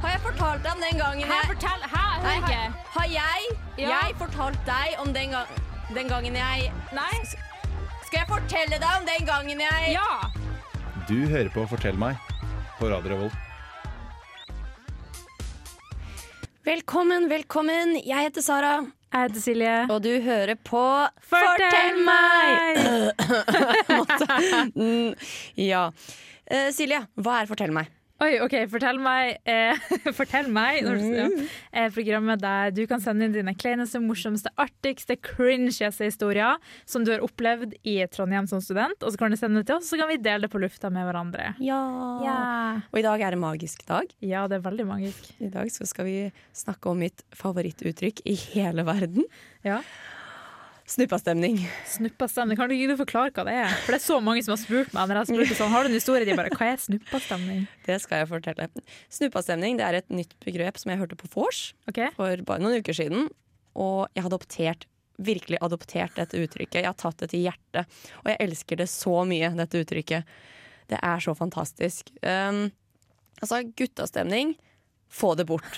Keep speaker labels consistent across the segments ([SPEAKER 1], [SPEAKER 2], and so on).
[SPEAKER 1] fortalt deg om den gangen
[SPEAKER 2] Hæ,
[SPEAKER 1] jeg
[SPEAKER 2] fortell! Hæ, jeg
[SPEAKER 1] Nei,
[SPEAKER 2] hører
[SPEAKER 1] har,
[SPEAKER 2] ikke.
[SPEAKER 1] har jeg
[SPEAKER 2] Ja.
[SPEAKER 1] Jeg fortalt deg om den, gang, den gangen jeg
[SPEAKER 2] Nei?
[SPEAKER 1] Skal jeg fortelle deg om den gangen jeg
[SPEAKER 2] Ja!
[SPEAKER 3] Du hører på Fortell meg på Radio Revolt.
[SPEAKER 1] Velkommen, velkommen. Jeg heter Sara,
[SPEAKER 2] Jeg heter Silje.
[SPEAKER 1] og du hører på Ja. Eh, Silje, hva er Fortell meg?
[SPEAKER 2] Oi, OK, fortell meg, eh, fortell meg når, ja, eh, programmet der du kan sende inn dine kleineste, morsomste, artigste, cringieste historier som du har opplevd i Trondheim som student. Og så kan du sende det til oss, så kan vi dele det på lufta med hverandre. Ja,
[SPEAKER 1] Og i dag er en magisk dag.
[SPEAKER 2] ja det er veldig magisk.
[SPEAKER 1] I dag så skal vi snakke om mitt favorittuttrykk i hele verden.
[SPEAKER 2] Ja.
[SPEAKER 1] Snuppastemning.
[SPEAKER 2] Snuppastemning. Kan du ikke forklare hva det er? For det er så mange som har spurt meg når jeg spurte sånn, har du en historie? De bare, hva er snuppastemning?
[SPEAKER 1] Det skal jeg fortelle. Snuppastemning det er et nytt begrep som jeg hørte på vors
[SPEAKER 2] OK?
[SPEAKER 1] for bare noen uker siden. Og jeg har adoptert, virkelig adoptert dette uttrykket. Jeg har tatt det til hjertet. Og jeg elsker det så mye, dette uttrykket. Det er så fantastisk. Um, altså, guttastemning, få det bort.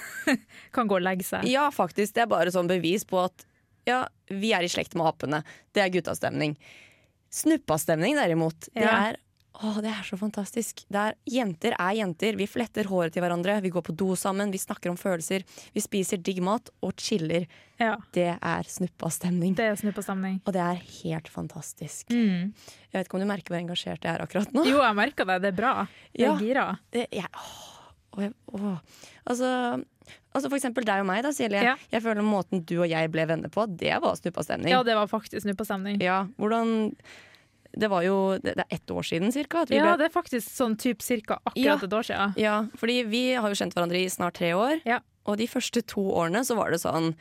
[SPEAKER 2] Kan gå og legge seg.
[SPEAKER 1] Ja, faktisk. Det er bare sånn bevis på at ja, vi er i slekt med apene. Det er guttastemning. Snuppastemning, derimot, det
[SPEAKER 2] Ja.
[SPEAKER 1] er Åh, det er så fantastisk. Det er, jenter er jenter. Vi fletter håret til hverandre, vi går på do sammen, vi snakker om følelser. Vi spiser digg mat og chiller.
[SPEAKER 2] Ja,
[SPEAKER 1] Det er snuppastemning.
[SPEAKER 2] det er snuppastemning.
[SPEAKER 1] Og det er helt fantastisk.
[SPEAKER 2] Mm.
[SPEAKER 1] Jeg vet ikke om du merker hvor engasjert jeg er akkurat nå?
[SPEAKER 2] Jo, jeg merker det. Det er bra. Jeg
[SPEAKER 1] Ja.
[SPEAKER 2] er gira.
[SPEAKER 1] Det, jeg, åh, og jeg, åh. Altså, altså for eksempel deg og meg, da, Silje.
[SPEAKER 2] Ja.
[SPEAKER 1] Jeg føler måten du og jeg ble venner på, det var snuppastemning.
[SPEAKER 2] Ja, det var faktisk snuppastemning.
[SPEAKER 1] Ja, hvordan Det var jo Det, det er ett år siden cirka at vi
[SPEAKER 2] Ja,
[SPEAKER 1] ble
[SPEAKER 2] det er faktisk sånn typ cirka
[SPEAKER 1] Ja.
[SPEAKER 2] akkurat et år siden.
[SPEAKER 1] Ja, fordi vi har jo kjent hverandre i snart tre år.
[SPEAKER 2] Ja.
[SPEAKER 1] Og de første to årene så var det sånn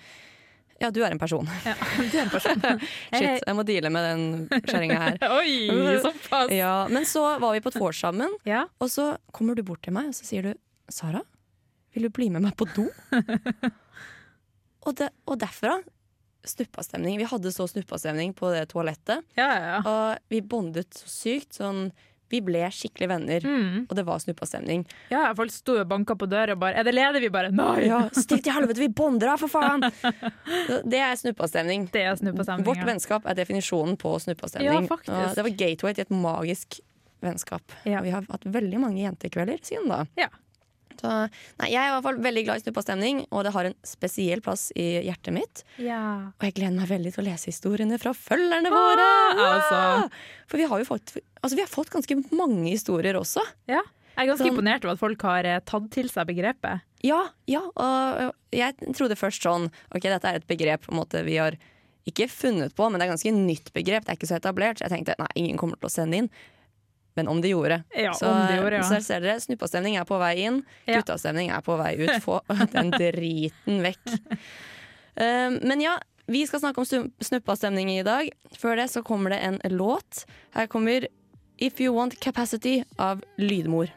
[SPEAKER 1] Ja, du er en person.
[SPEAKER 2] Ja, du er en person. Hei.
[SPEAKER 1] Shit, jeg må deale med den kjerringa her.
[SPEAKER 2] Oi, såpass! Ja.
[SPEAKER 1] Ja, men så var vi på et vors sammen,
[SPEAKER 2] ja.
[SPEAKER 1] og så kommer du bort til meg og så sier du Sara, vil du bli med meg på do? og, det, og derfra snuppastemning. Vi hadde så snuppastemning på det toalettet.
[SPEAKER 2] Ja, ja,
[SPEAKER 1] Og vi bondet så sykt. Sånn, vi ble skikkelig venner.
[SPEAKER 2] Mm.
[SPEAKER 1] Og det var snuppastemning.
[SPEAKER 2] ja, folk sto og banka på døra og bare Er det ledig? Vi bare Nei!
[SPEAKER 1] Ja, stikk til helvete, vi bonder da, for faen! Det er snuppastemning.
[SPEAKER 2] Det er snuppastemning.
[SPEAKER 1] Vårt
[SPEAKER 2] ja.
[SPEAKER 1] vennskap er definisjonen på
[SPEAKER 2] Ja,
[SPEAKER 1] snuppastemning.
[SPEAKER 2] faktisk.
[SPEAKER 1] Og det var gateway til et magisk vennskap.
[SPEAKER 2] Ja.
[SPEAKER 1] Og vi har hatt veldig mange jentekvelder siden da.
[SPEAKER 2] Ja.
[SPEAKER 1] Så, nei, jeg er i hvert fall veldig glad i snuppastemning, og det har en spesiell plass i hjertet mitt.
[SPEAKER 2] Ja.
[SPEAKER 1] Og jeg gleder meg veldig til å lese historiene fra
[SPEAKER 2] Ah,
[SPEAKER 1] følgerne våre!
[SPEAKER 2] altså.
[SPEAKER 1] For vi har jo fått, altså, vi har fått ganske mange historier også.
[SPEAKER 2] ja. Jeg er ganske
[SPEAKER 1] Sånn-
[SPEAKER 2] imponert over at folk har eh, tatt til seg begrepet.
[SPEAKER 1] Ja, ja. Og jeg trodde først sånn Ok, dette er et begrep på en måte vi har ikke funnet på, men det er ganske nytt begrep. Det er ikke så etablert. Så jeg tenkte nei, ingen kommer til å sende inn. Men om de gjorde.
[SPEAKER 2] Ja,
[SPEAKER 1] så, eh,
[SPEAKER 2] om de gjorde, ja.
[SPEAKER 1] så her ser dere, snuppastemning er på vei inn,
[SPEAKER 2] Ja.
[SPEAKER 1] guttastemning er på vei ut. Få den driten vekk. Um, men ja, vi skal snakke om stum- snuppastemning i dag. Før det så kommer det en låt. Her kommer If You Want Capacity av Lydmor.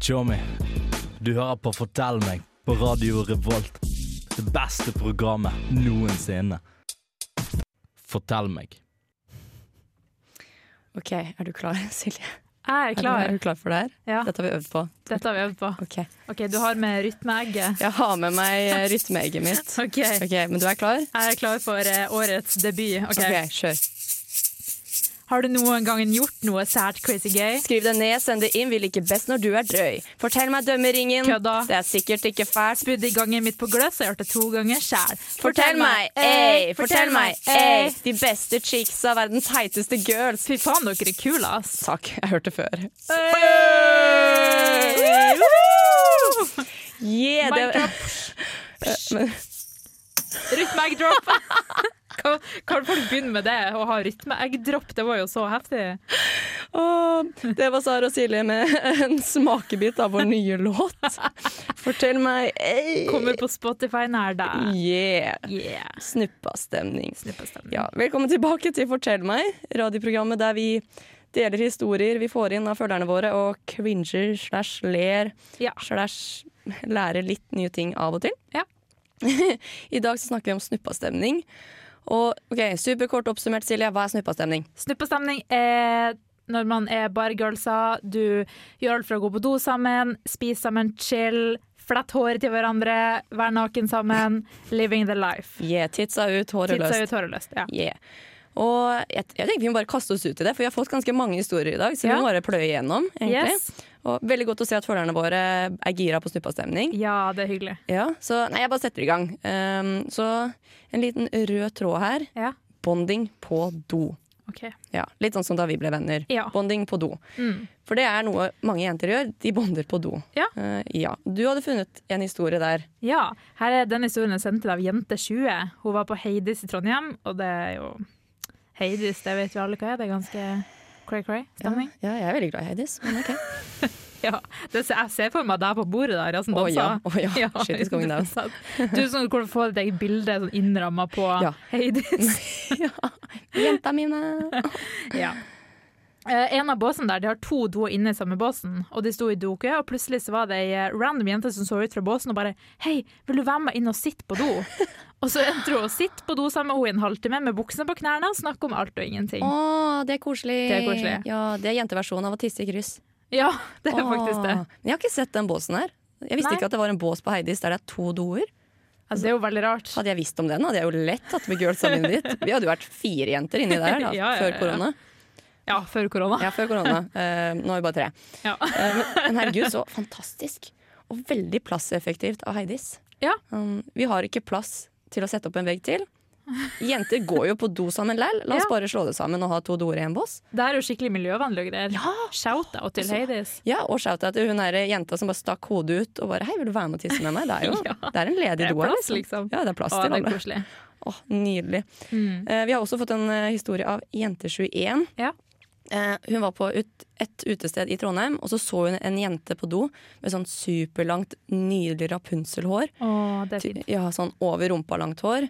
[SPEAKER 4] Tjommi, du hører på Fortell meg på Radio Revolt. Det beste programmet noensinne. Fortell meg.
[SPEAKER 1] OK, er du klar, Silje?
[SPEAKER 2] Jeg er
[SPEAKER 1] Er, du,
[SPEAKER 2] klar.
[SPEAKER 1] er du klar for det her?
[SPEAKER 2] Ja,
[SPEAKER 1] Dette har vi øvd på.
[SPEAKER 2] dette har vi øvd på.
[SPEAKER 1] Ok.
[SPEAKER 2] OK, du har med rytmeegget.
[SPEAKER 1] Jeg har med meg eh, rytmeegget mitt.
[SPEAKER 2] OK. Jeg
[SPEAKER 1] Ok, Men du er klar?
[SPEAKER 2] er klar for eh, årets debut.
[SPEAKER 1] Ok,
[SPEAKER 2] OK.
[SPEAKER 1] Kjør.
[SPEAKER 2] Har du noen gang gjort noe sært crazy gøy?
[SPEAKER 1] Skriv det ned, send det inn. Vi liker best når du er drøy. Fortell meg dømmeringen.
[SPEAKER 2] Kødda.
[SPEAKER 1] Det er sikkert ikke fælt.
[SPEAKER 2] Budd i gangen mitt på gløss, jeg har gjort det to ganger sjæl.
[SPEAKER 1] Fortell meg, ey, fortell meg, ey. De beste chicksa, verdens heiteste girls.
[SPEAKER 2] Fy faen, dere er kule, ass.
[SPEAKER 1] Takk, jeg hørte før.
[SPEAKER 2] Hey! Woohoo!
[SPEAKER 1] Yeah,
[SPEAKER 2] Mic
[SPEAKER 1] det,
[SPEAKER 2] drop. Rytmeeggdrop. Kan, kan folk begynne med det? Å ha rytmeeggdrop, det var jo så heftig.
[SPEAKER 1] Åh, det var Sara og Silje med en smakebit av vår nye låt. Fortell meg, ey.
[SPEAKER 2] Kommer på Spotify nær deg.
[SPEAKER 1] Yeah.
[SPEAKER 2] Yeah.
[SPEAKER 1] Snuppastemning.
[SPEAKER 2] Snuppestemning.
[SPEAKER 1] Ja, velkommen tilbake til Fortell meg, radioprogrammet der vi deler historier vi får inn av følgerne våre, og cringer slash ler
[SPEAKER 2] Ja.
[SPEAKER 1] slash lærer litt nye ting av og til.
[SPEAKER 2] Ja.
[SPEAKER 1] I dag så snakker vi om snuppastemning. Og ok, Superkort oppsummert, Silje, hva er snuppastemning?
[SPEAKER 2] Snuppestemning er når man er bare girlsa. Du gjør alt fra å gå på do sammen, spise sammen, chill, flette håret til hverandre, være naken sammen. Living the life.
[SPEAKER 1] Yeah, titsa ut, håret
[SPEAKER 2] Tidsa
[SPEAKER 1] løst.
[SPEAKER 2] ut håret løst. Ja.
[SPEAKER 1] Yeah. Og jeg, jeg tenker vi må bare kaste oss ut i det, for vi har fått ganske mange historier i dag. Så
[SPEAKER 2] Ja.
[SPEAKER 1] vi må bare pløye gjennom. egentlig.
[SPEAKER 2] Yes.
[SPEAKER 1] Og veldig godt å se at følgerne våre er gira på snuppastemning.
[SPEAKER 2] ja, det er hyggelig.
[SPEAKER 1] Ja, så nei, jeg bare setter i gang. Ehm, så en liten rød tråd her.
[SPEAKER 2] Ja,
[SPEAKER 1] Bonding på do.
[SPEAKER 2] OK.
[SPEAKER 1] Ja, Litt sånn som da vi ble venner.
[SPEAKER 2] Ja.
[SPEAKER 1] Bonding på do.
[SPEAKER 2] Mm.
[SPEAKER 1] For det er noe mange jenter gjør. De bonder på do.
[SPEAKER 2] Ja.
[SPEAKER 1] Eh, ja. Du hadde funnet en historie der.
[SPEAKER 2] Ja, her er den historien jeg sendte av Jente20. Hun var på Heidis i Trondheim, og det er jo Heidis, det vet vi alle hva er. Det er ganske cray-cray stemning.
[SPEAKER 1] Ja, jeg er veldig glad i Heidis. Men ok.
[SPEAKER 2] Ja. Det ser, jeg ser for meg deg på bordet der, ja, som
[SPEAKER 1] Å ja.
[SPEAKER 2] danser.
[SPEAKER 1] å ja. Shit is going down.
[SPEAKER 2] sant. Du som kunne få ditt eget bilde sånn innramma på
[SPEAKER 1] Ja.
[SPEAKER 2] Heidis.
[SPEAKER 1] ja. Jenta mine.
[SPEAKER 2] Ja. Eh, En av båsene der, de har to doer inne i samme båsen, og de sto i dokø, og plutselig så var det ei eh, random jente som så ut fra båsen og bare Hei, vil du være med inn og sitte på do? og så endte hun å sitte på do sammen med henne i en halvtime med buksene på knærne og snakke om alt og ingenting.
[SPEAKER 1] Å, det er koselig.
[SPEAKER 2] Det er koselig.
[SPEAKER 1] Ja, det er jenteversjonen av å tisse i kryss.
[SPEAKER 2] Ja, det er faktisk det.
[SPEAKER 1] Åh, Men jeg har ikke sett den båsen her. Jeg visste
[SPEAKER 2] Nei.
[SPEAKER 1] ikke at det var en bås på Heidis der det er to doer.
[SPEAKER 2] Altså, det er jo veldig rart.
[SPEAKER 1] Hadde jeg visst om den, hadde jeg jo lett tatt med girlsa mine dit. Vi hadde jo vært fire jenter inni der da,
[SPEAKER 2] Ja, ja,
[SPEAKER 1] før
[SPEAKER 2] ja.
[SPEAKER 1] korona.
[SPEAKER 2] Ja, før korona.
[SPEAKER 1] Ja, før korona. Eh, nå er vi bare tre.
[SPEAKER 2] Ja.
[SPEAKER 1] Eh, men, men herregud, så fantastisk. Og veldig plasseffektivt av Heidis.
[SPEAKER 2] Ja.
[SPEAKER 1] Um, vi har ikke plass til å sette opp en vegg til. Jenter går jo på do sammen lell. La oss
[SPEAKER 2] Ja.
[SPEAKER 1] bare slå det sammen og ha to doer i en bås.
[SPEAKER 2] Det er jo skikkelig miljøvennlig og greier. Shout-out til
[SPEAKER 1] Altså,
[SPEAKER 2] Heidis.
[SPEAKER 1] Ja, og shout-out til hun der jenta som bare stakk hodet ut og bare Hei, vil du være med og tisse med meg? Det er jo det er en ledig
[SPEAKER 2] Det er
[SPEAKER 1] do her.
[SPEAKER 2] plass, liksom.
[SPEAKER 1] Ja, det er plass
[SPEAKER 2] Å,
[SPEAKER 1] til
[SPEAKER 2] det er
[SPEAKER 1] alle.
[SPEAKER 2] koselig. Mm.
[SPEAKER 1] Åh, nydelig. Eh, vi har også fått en eh, historie av Jente21.
[SPEAKER 2] Ja.
[SPEAKER 1] Eh, hun var på ut, et utested i Trondheim, og så så hun en jente på do med sånn superlangt, nydelig rapunselhår.
[SPEAKER 2] Å, det er
[SPEAKER 1] Ty-
[SPEAKER 2] fint.
[SPEAKER 1] Ja, sånn over rumpa langt hår.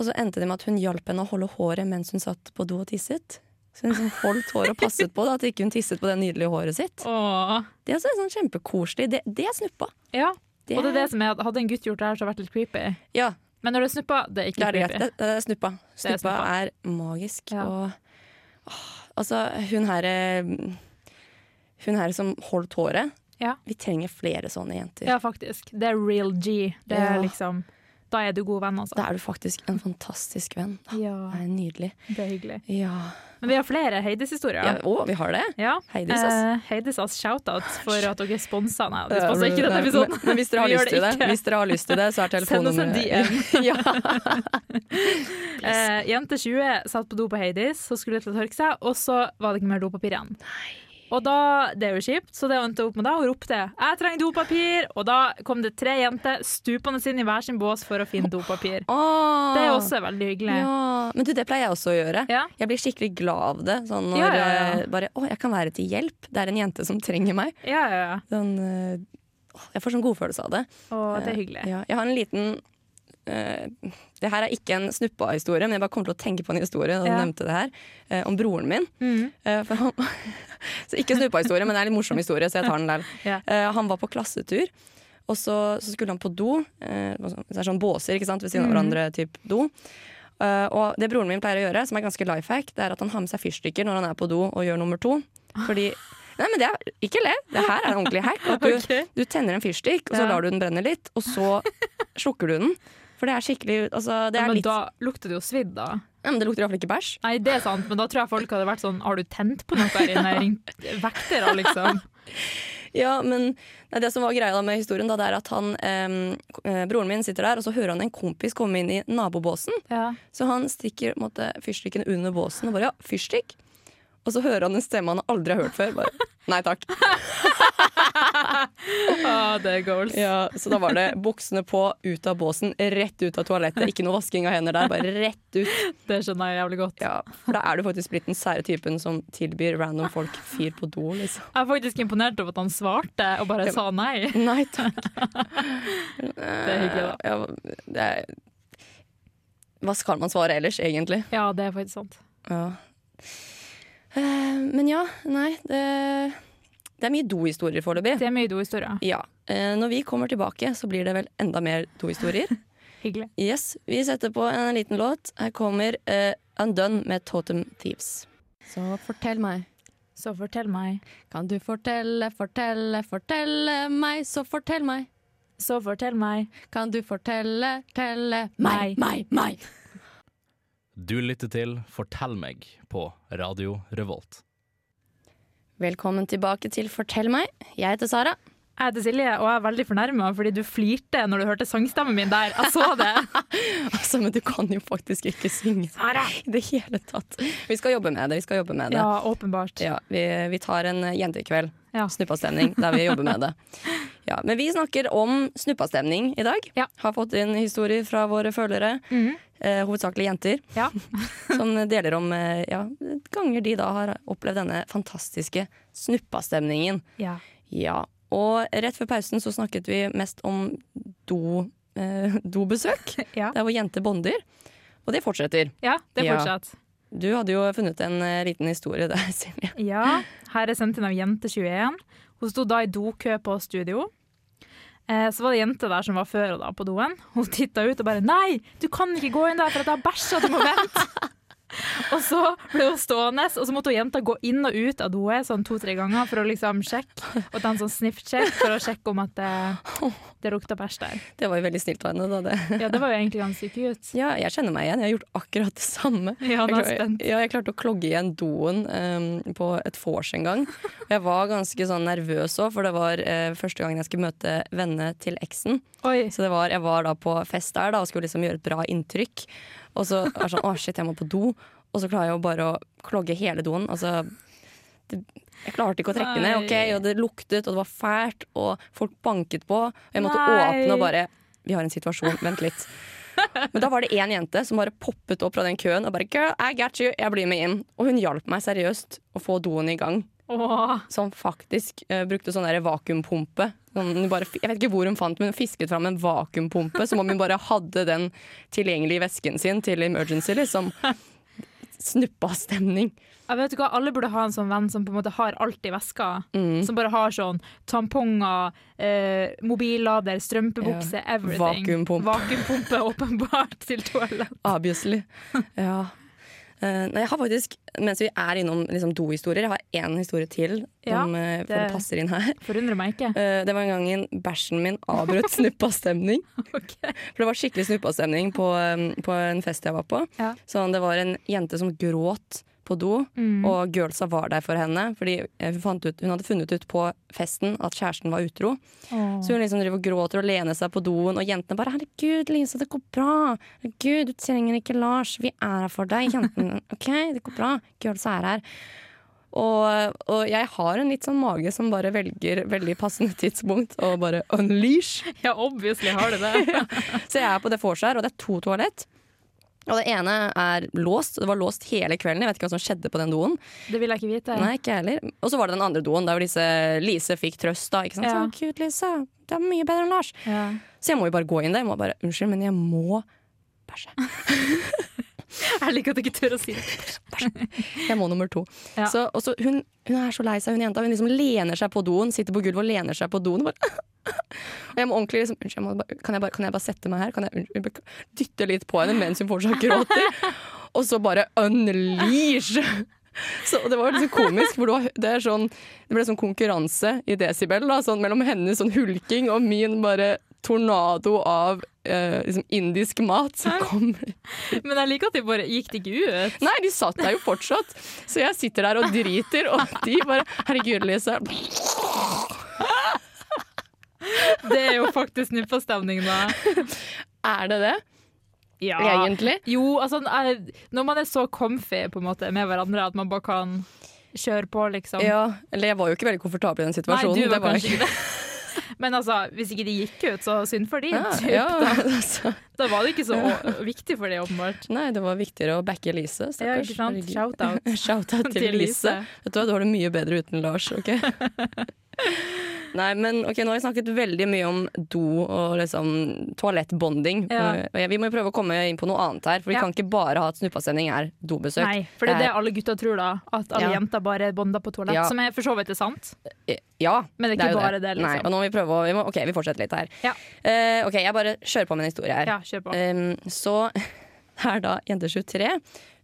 [SPEAKER 1] Og så endte det med at hun hjalp henne å holde håret mens hun satt på do og tisset. Så hun liksom holdt håret og passet på da, at ikke hun tisset på det nydelige håret sitt.
[SPEAKER 2] Å.
[SPEAKER 1] Det er altså sånn kjempekoselig. Det, det er snuppa.
[SPEAKER 2] Ja.
[SPEAKER 1] Det
[SPEAKER 2] Og det er det
[SPEAKER 1] er-
[SPEAKER 2] som er at hadde en gutt gjort det her, så hadde det vært litt creepy.
[SPEAKER 1] Ja,
[SPEAKER 2] Men når det er snuppa, det er ikke
[SPEAKER 1] det er greit.
[SPEAKER 2] creepy.
[SPEAKER 1] Det, det er snuppa.
[SPEAKER 2] er
[SPEAKER 1] Snuppa
[SPEAKER 2] snuppa.
[SPEAKER 1] er magisk.
[SPEAKER 2] Ja.
[SPEAKER 1] Og åh, altså, hun her eh, Hun her som holdt håret.
[SPEAKER 2] Ja.
[SPEAKER 1] Vi trenger flere sånne jenter.
[SPEAKER 2] Ja, faktisk. Det er real G. Det er
[SPEAKER 1] Ja.
[SPEAKER 2] liksom Da er du god venn, altså.
[SPEAKER 1] Da er du faktisk en fantastisk venn.
[SPEAKER 2] Ja,
[SPEAKER 1] Det er nydelig.
[SPEAKER 2] det er hyggelig.
[SPEAKER 1] Ja.
[SPEAKER 2] Men vi har flere
[SPEAKER 1] ja.
[SPEAKER 2] Heidis-historier.
[SPEAKER 1] Å, vi har det?
[SPEAKER 2] Ja.
[SPEAKER 1] Heidis, ass.
[SPEAKER 2] Eh, Heidis, ass. Shout-out for at dere sponsa Nei, de sponsa ikke denne
[SPEAKER 1] Nei,
[SPEAKER 2] episoden.
[SPEAKER 1] Men, men hvis, dere har
[SPEAKER 2] Vi gjør
[SPEAKER 1] lyst til det,
[SPEAKER 2] ikke.
[SPEAKER 1] hvis dere har lyst til det, så er
[SPEAKER 2] Send oss en
[SPEAKER 1] telefonnummeret
[SPEAKER 2] DM.
[SPEAKER 1] ja.
[SPEAKER 2] Eh, jente 20 satt på do på Heidis, så skulle til å tørke seg, og så var det ikke mer dopapir igjen. Og da, Det er jo kjipt, så det hun endte opp med da, hun ropte 'jeg trenger dopapir', og da kom det tre jenter stupende inn i hver sin bås for å finne dopapir.
[SPEAKER 1] Åh.
[SPEAKER 2] Det er også veldig hyggelig.
[SPEAKER 1] ja. Men du, det pleier jeg også å gjøre.
[SPEAKER 2] Ja.
[SPEAKER 1] Jeg blir skikkelig glad av det. Sånn når
[SPEAKER 2] Ja, ja, ja.
[SPEAKER 1] eh, bare Å, jeg kan være til hjelp. Det er en jente som trenger meg.
[SPEAKER 2] Ja, ja, ja.
[SPEAKER 1] Sånn, eh, åh, jeg får sånn godfølelse av det.
[SPEAKER 2] Og det er hyggelig.
[SPEAKER 1] Ja, jeg har en liten eh, Det her er ikke en snuppa-historie, men jeg bare kom til å tenke på en historie da du
[SPEAKER 2] Ja. Mm.
[SPEAKER 1] nevnte det her, eh, om broren min. Eh, for han, så ikke snuppa-historie, men det er en litt morsom historie, så jeg tar den der.
[SPEAKER 2] Ja.
[SPEAKER 1] Eh, han var på klassetur, og så, så skulle han på do. eh, og så- det er sånn båser ikke sant, ved siden av
[SPEAKER 2] Mm.
[SPEAKER 1] hverandre, typ do. Eh, og det broren min pleier å gjøre, som er ganske life hack, det er at han har med seg fyrstikker når han er på do og gjør nummer to. Fordi Nei, men det er, ikke le! Det her er en ordentlig hack. At du,
[SPEAKER 2] Ok.
[SPEAKER 1] du tenner en fyrstikk, og så
[SPEAKER 2] Ja.
[SPEAKER 1] lar du den brenne litt, og så slukker du den. For det er skikkelig altså, det,
[SPEAKER 2] Ja,
[SPEAKER 1] er
[SPEAKER 2] men
[SPEAKER 1] litt,
[SPEAKER 2] da lukter det jo svidd, da.
[SPEAKER 1] ja, men det lukter iallfall ikke bæsj.
[SPEAKER 2] Nei, det er sant, men da tror jeg folk hadde vært sånn Har du tent på noe der inne? Ringt vektere, liksom?
[SPEAKER 1] Ja, men nei, Det som var greia da med historien, da, det er at han, em, k- eh, broren min sitter der, og så hører han en kompis komme inn i nabobåsen.
[SPEAKER 2] Ja.
[SPEAKER 1] Så han stikker på en måte, fyrstikken under båsen og bare ja, fyrstikk. Og så hører han en stemme han aldri har hørt før. Bare nei takk.
[SPEAKER 2] Ah, det er goals.
[SPEAKER 1] Ja, Så da var det buksene på, ut av båsen, rett ut av toalettet. Ikke noe vasking av hender der, bare rett ut.
[SPEAKER 2] Det skjønner jeg jævlig godt.
[SPEAKER 1] Ja, for da er du faktisk blitt den sære typen som tilbyr random folk fyr på do, liksom.
[SPEAKER 2] Jeg er faktisk imponert over at han svarte og bare sa nei.
[SPEAKER 1] Nei takk.
[SPEAKER 2] Det er hyggelig, da.
[SPEAKER 1] Ja, det er Hva skal man svare ellers, egentlig?
[SPEAKER 2] Ja, det er faktisk sant.
[SPEAKER 1] Ja. Eh, Men ja, nei, det, det er mye dohistorier foreløpig.
[SPEAKER 2] Det er mye dohistorier.
[SPEAKER 1] Ja. Eh, Når vi kommer tilbake, så blir det vel enda mer dohistorier.
[SPEAKER 2] Hyggelig.
[SPEAKER 1] Yes, vi setter på en liten låt. Her kommer eh, Undone med Totem Thieves. Så fortell meg.
[SPEAKER 2] Så fortell meg,
[SPEAKER 1] Kan du fortelle, fortelle, fortelle meg, så fortell meg.
[SPEAKER 2] så fortell meg.
[SPEAKER 1] Kan du fortelle, telle meg, meg, meg.
[SPEAKER 4] Du lytter til Fortell meg på Radio Revolt.
[SPEAKER 1] Velkommen tilbake til Fortell meg. Jeg heter Sara.
[SPEAKER 2] Jeg heter Silje, og jeg er veldig fornærma fordi du flirte når du hørte sangstemmen min der. Jeg så det.
[SPEAKER 1] Altså, men du kan jo faktisk ikke synge i det hele tatt. Vi skal jobbe med det. Vi skal jobbe med det.
[SPEAKER 2] Ja, åpenbart.
[SPEAKER 1] Ja, vi, vi tar en eh, jentekveld.
[SPEAKER 2] Ja.
[SPEAKER 1] Snuppastemning, der vi jobber med det. Ja, men vi snakker om snuppastemning i dag.
[SPEAKER 2] Ja.
[SPEAKER 1] Har fått inn historier fra våre følgere,
[SPEAKER 2] Mhm.
[SPEAKER 1] eh, hovedsakelig jenter.
[SPEAKER 2] Ja.
[SPEAKER 1] som deler om eh, ja, ganger de da har opplevd denne fantastiske snuppastemningen.
[SPEAKER 2] Ja.
[SPEAKER 1] Ja, og rett før pausen så snakket vi mest om do, eh, dobesøk,
[SPEAKER 2] Ja.
[SPEAKER 1] der hvor jenter bonder. Og det fortsetter.
[SPEAKER 2] ja, det
[SPEAKER 1] Ja.
[SPEAKER 2] fortsatt.
[SPEAKER 1] Du hadde jo funnet en eh, liten historie der, Silje.
[SPEAKER 2] Ja, her er sendt inn av Jente21. Hun sto da i dokø på studio. Eh, Så var det ei jente der som var før henne da på doen. Hun titta ut og bare 'Nei, du kan ikke gå inn der, for at jeg har bæsja, du må vente'. og så ble hun stående, og så måtte hun jenta gå inn og ut av doet sånn to-tre ganger for å liksom sjekke. Og ta en sånn sniff-check for å sjekke om at det, det lukta bæsj der.
[SPEAKER 1] Det var jo veldig snilt av henne. da det.
[SPEAKER 2] Ja, det var jo egentlig ganske cute.
[SPEAKER 1] Ja, jeg kjenner meg igjen. Jeg har gjort akkurat det samme.
[SPEAKER 2] Ja, nå er jeg
[SPEAKER 1] Jeg klar-
[SPEAKER 2] spent.
[SPEAKER 1] Ja, jeg klarte å klogge igjen doen ehm, på et vors en gang. Og jeg var ganske sånn nervøs òg, for det var eh, første gangen jeg skulle møte vennene til eksen.
[SPEAKER 2] Oi.
[SPEAKER 1] Så det var, jeg var da på fest der da, og skulle liksom gjøre et bra inntrykk. Og så er det sånn, å shit, jeg må på do. Og så klarer jeg jo bare å klogge hele doen. Altså, det, jeg klarte ikke å trekke ned, ok?
[SPEAKER 2] Nei.
[SPEAKER 1] Og det luktet, og det var fælt, og folk banket på. Og jeg måtte
[SPEAKER 2] Nei.
[SPEAKER 1] åpne og bare, vi har en situasjon, vent litt. Men da var det en jente som bare poppet opp fra den køen og bare, girl, I got you, jeg blir med inn. Og hun hjalp meg seriøst å få doen i gang
[SPEAKER 2] Åh.
[SPEAKER 1] som faktisk eh, brukte sånn der vakuumpumpe. Sånn, hun bare, jeg vet ikke hvor hun fant, men hun fisket fram en vakuumpumpe, som om hun bare hadde den tilgjengelig i vesken sin til emergency, liksom. Snuppastemning.
[SPEAKER 2] Jeg vet ikke hva, Alle burde ha en sånn venn som på en måte har alt i veska. Som bare har sånn tamponger, eh, mobillader, strømpebukse,
[SPEAKER 1] Ja.
[SPEAKER 2] everything.
[SPEAKER 1] Vakuumpump.
[SPEAKER 2] Vakuumpumpe, åpenbart, til toalett.
[SPEAKER 1] Obviously. Ja. Eh, nei, jeg har faktisk, mens vi er innom liksom, dohistorier, jeg har én historie til
[SPEAKER 2] Ja,
[SPEAKER 1] som eh, som
[SPEAKER 2] det-
[SPEAKER 1] passer inn her.
[SPEAKER 2] Forundrer meg ikke.
[SPEAKER 1] Eh, det var en gang en bæsjen min avbrøt snuppastemning.
[SPEAKER 2] Ok.
[SPEAKER 1] For det var skikkelig snuppastemning på, um, på en fest jeg var på.
[SPEAKER 2] Ja.
[SPEAKER 1] Sånn, det var en jente som gråt på do, og girlsa var der for henne. Fordi eh, hun, fant ut, hun hadde funnet ut på festen at kjæresten var utro. Så hun liksom driver og gråter og lener seg på doen, og jentene bare 'Herregud, Lisa, det går bra. Herregud, du trenger ikke Lars. Vi er her for deg, jentene. OK, det går bra. Girlsa er her.' Og, og jeg har en litt sånn mage som bare velger veldig passende tidspunkt og bare 'unleash'.
[SPEAKER 2] Ja, obviously har du det.
[SPEAKER 1] Så jeg er på det vorset her, og det er to toalett. Og det ene er låst. Det var låst hele kvelden. Jeg vet ikke hva som skjedde på den doen.
[SPEAKER 2] Det vil jeg ikke vite.
[SPEAKER 1] Nei, ikke jeg heller. Og så var det den andre doen, der hvor disse, Lise fikk trøst. da, ikke sant?
[SPEAKER 2] Ja.
[SPEAKER 1] Sånn, Gud, Lise, det er mye bedre enn Lars.
[SPEAKER 2] Ja.
[SPEAKER 1] Så jeg må jo bare gå inn der. Jeg må bare, Unnskyld, men jeg må bæsje.
[SPEAKER 2] Jeg liker at du ikke tør å si det.
[SPEAKER 1] Jeg må nummer to.
[SPEAKER 2] Ja.
[SPEAKER 1] Så, og så hun, hun er så lei seg, hun jenta. Hun liksom lener seg på doen, sitter på gulvet og lener seg på doen. Og, bare, og jeg må ordentlig liksom Unnskyld, jeg må bare, kan, jeg bare, kan jeg bare sette meg her? Kan jeg unnskyld, bek- dytte litt på henne mens hun fortsatt gråter? Og så bare unleash! Så det var litt så komisk, for det, var, det, er sånn, det ble sånn konkurranse i desibel da, sånn, mellom hennes sånn hulking og min bare tornado av eh, liksom indisk mat som kommer
[SPEAKER 2] Men jeg liker at de bare gikk det ikke ut.
[SPEAKER 1] Nei, de satt der jo fortsatt. Så jeg sitter der og driter, og de bare Herregud, Lise.
[SPEAKER 2] Det er jo faktisk snuppastemning, da.
[SPEAKER 1] Er det det,
[SPEAKER 2] Ja.
[SPEAKER 1] egentlig?
[SPEAKER 2] Jo, altså jeg- når man er så comfy på en måte med hverandre at man bare kan kjøre på, liksom.
[SPEAKER 1] Ja. Eller jeg var jo ikke veldig komfortabel i den situasjonen.
[SPEAKER 2] Nei, du var
[SPEAKER 1] Det
[SPEAKER 2] kanskje
[SPEAKER 1] jeg
[SPEAKER 2] ikke det. Men altså, hvis ikke de gikk ut, så synd for de.
[SPEAKER 1] Ja,
[SPEAKER 2] typ.
[SPEAKER 1] ja, altså.
[SPEAKER 2] Da var det ikke så å- viktig for de, åpenbart.
[SPEAKER 1] Nei, det var viktigere å backe Lise.
[SPEAKER 2] Ja, ikke sant?
[SPEAKER 1] Herregud.
[SPEAKER 2] Shout-out.
[SPEAKER 1] Shout-out til,
[SPEAKER 2] Til Lise.
[SPEAKER 1] Lise. Vet du hva, du har det mye bedre uten Lars, OK? Nei, men ok, nå har vi snakket veldig mye om do og liksom toalettbonding.
[SPEAKER 2] Ja.
[SPEAKER 1] Og jeg- Vi må jo prøve å komme inn på noe annet her, for vi
[SPEAKER 2] Ja.
[SPEAKER 1] kan ikke bare ha at snuppasending er dobesøk.
[SPEAKER 2] Nei, for det er
[SPEAKER 1] Det
[SPEAKER 2] det
[SPEAKER 1] er-
[SPEAKER 2] alle gutter tror, da. At alle
[SPEAKER 1] Ja.
[SPEAKER 2] jenter bare bonder på toalett.
[SPEAKER 1] Ja.
[SPEAKER 2] Som er for så vidt er sant.
[SPEAKER 1] Ja.
[SPEAKER 2] Men det er ikke
[SPEAKER 1] jo
[SPEAKER 2] bare det, liksom.
[SPEAKER 1] Nei, og nå må vi prøve å vi må, OK, vi fortsetter litt her.
[SPEAKER 2] Ja.
[SPEAKER 1] Eh, OK, jeg bare kjører på med en historie her. Ehm,
[SPEAKER 2] Ja, kjør på.
[SPEAKER 1] Em, så er da jente 23.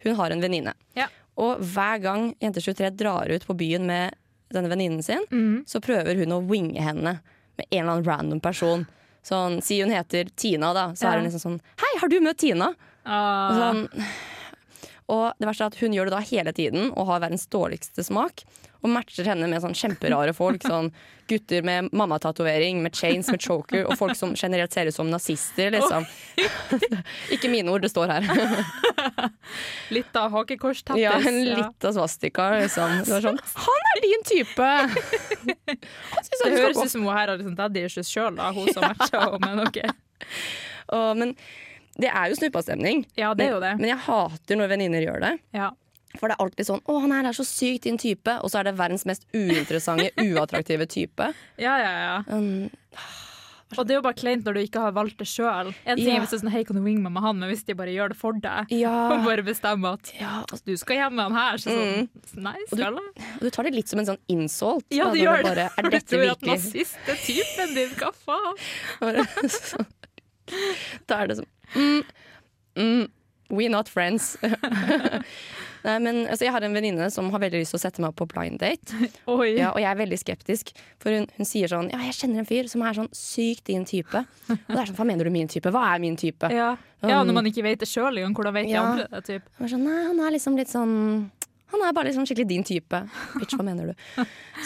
[SPEAKER 1] Hun har en venninne.
[SPEAKER 2] Ja.
[SPEAKER 1] Og hver gang Jente23 drar ut på byen med denne venninnen sin,
[SPEAKER 2] Mm.
[SPEAKER 1] så prøver hun å winge henne med en eller annen random person. Sånn, Si hun heter Tina, da. Så
[SPEAKER 2] Ja.
[SPEAKER 1] er hun liksom sånn Hei, har du møtt Tina? Og
[SPEAKER 2] Ah.
[SPEAKER 1] Sånn. Og det verste er at hun gjør det da hele tiden og har verdens dårligste smak. Og matcher henne med sånn kjemperare folk. Sånn gutter med mammatatovering, med chains, med choker, og folk som generelt ser ut som nazister, liksom. Ikke mine ord, det står her.
[SPEAKER 2] Litt av hakekorsteppes.
[SPEAKER 1] Ja, en litt av svastika, liksom. Det var sånn Han er din type! Han syns
[SPEAKER 2] Det
[SPEAKER 1] han Sånn skal
[SPEAKER 2] høres
[SPEAKER 1] gå
[SPEAKER 2] ut som hun her har liksom daddy issues sjøl, hun som matcher henne, men OK.
[SPEAKER 1] Og, men det er jo snuppastemning.
[SPEAKER 2] Ja, det er jo det.
[SPEAKER 1] Men, men jeg hater når venninner gjør det.
[SPEAKER 2] Ja.
[SPEAKER 1] For det er alltid sånn 'Å, han her er så sykt din type', og så er det verdens mest uinteressante, uattraktive type.
[SPEAKER 2] Ja, ja, ja.
[SPEAKER 1] Um,
[SPEAKER 2] Og det er jo bare kleint når du ikke har valgt det sjøl. En ting
[SPEAKER 1] Ja.
[SPEAKER 2] er hvis det er sånn, hei, kan du winge meg med han, men hvis de bare gjør det for deg, og
[SPEAKER 1] ja.
[SPEAKER 2] bare bestemmer at
[SPEAKER 1] ja. Og
[SPEAKER 2] du skal hjem med han her, så sånn, nei, skal jeg?
[SPEAKER 1] Mm. og du tar det litt som en sånn insult.
[SPEAKER 2] Ja,
[SPEAKER 1] da,
[SPEAKER 2] du
[SPEAKER 1] når
[SPEAKER 2] gjør
[SPEAKER 1] bare,
[SPEAKER 2] det.
[SPEAKER 1] Er
[SPEAKER 2] Du
[SPEAKER 1] dette
[SPEAKER 2] tror at
[SPEAKER 1] virkelig
[SPEAKER 2] nazist er typen din, hva faen?
[SPEAKER 1] Bare sånn. Da er det sånn mm, mm, We not friends. Nei, men altså, jeg har en venninne som har veldig lyst til å sette meg opp på blind date.
[SPEAKER 2] Oi.
[SPEAKER 1] Ja, og jeg er veldig skeptisk, for hun, hun sier sånn Ja, jeg kjenner en fyr som er sånn sykt din type. Og det er sånn, hva mener du min type? Hva er min type?
[SPEAKER 2] Ja. ja, når man ikke vet det sjøl engang, hvordan vet de
[SPEAKER 1] Ja.
[SPEAKER 2] andre det? Typ.
[SPEAKER 1] Hun er sånn, nei, han er liksom litt sånn Han er bare liksom skikkelig din type. Bitch, hva mener du?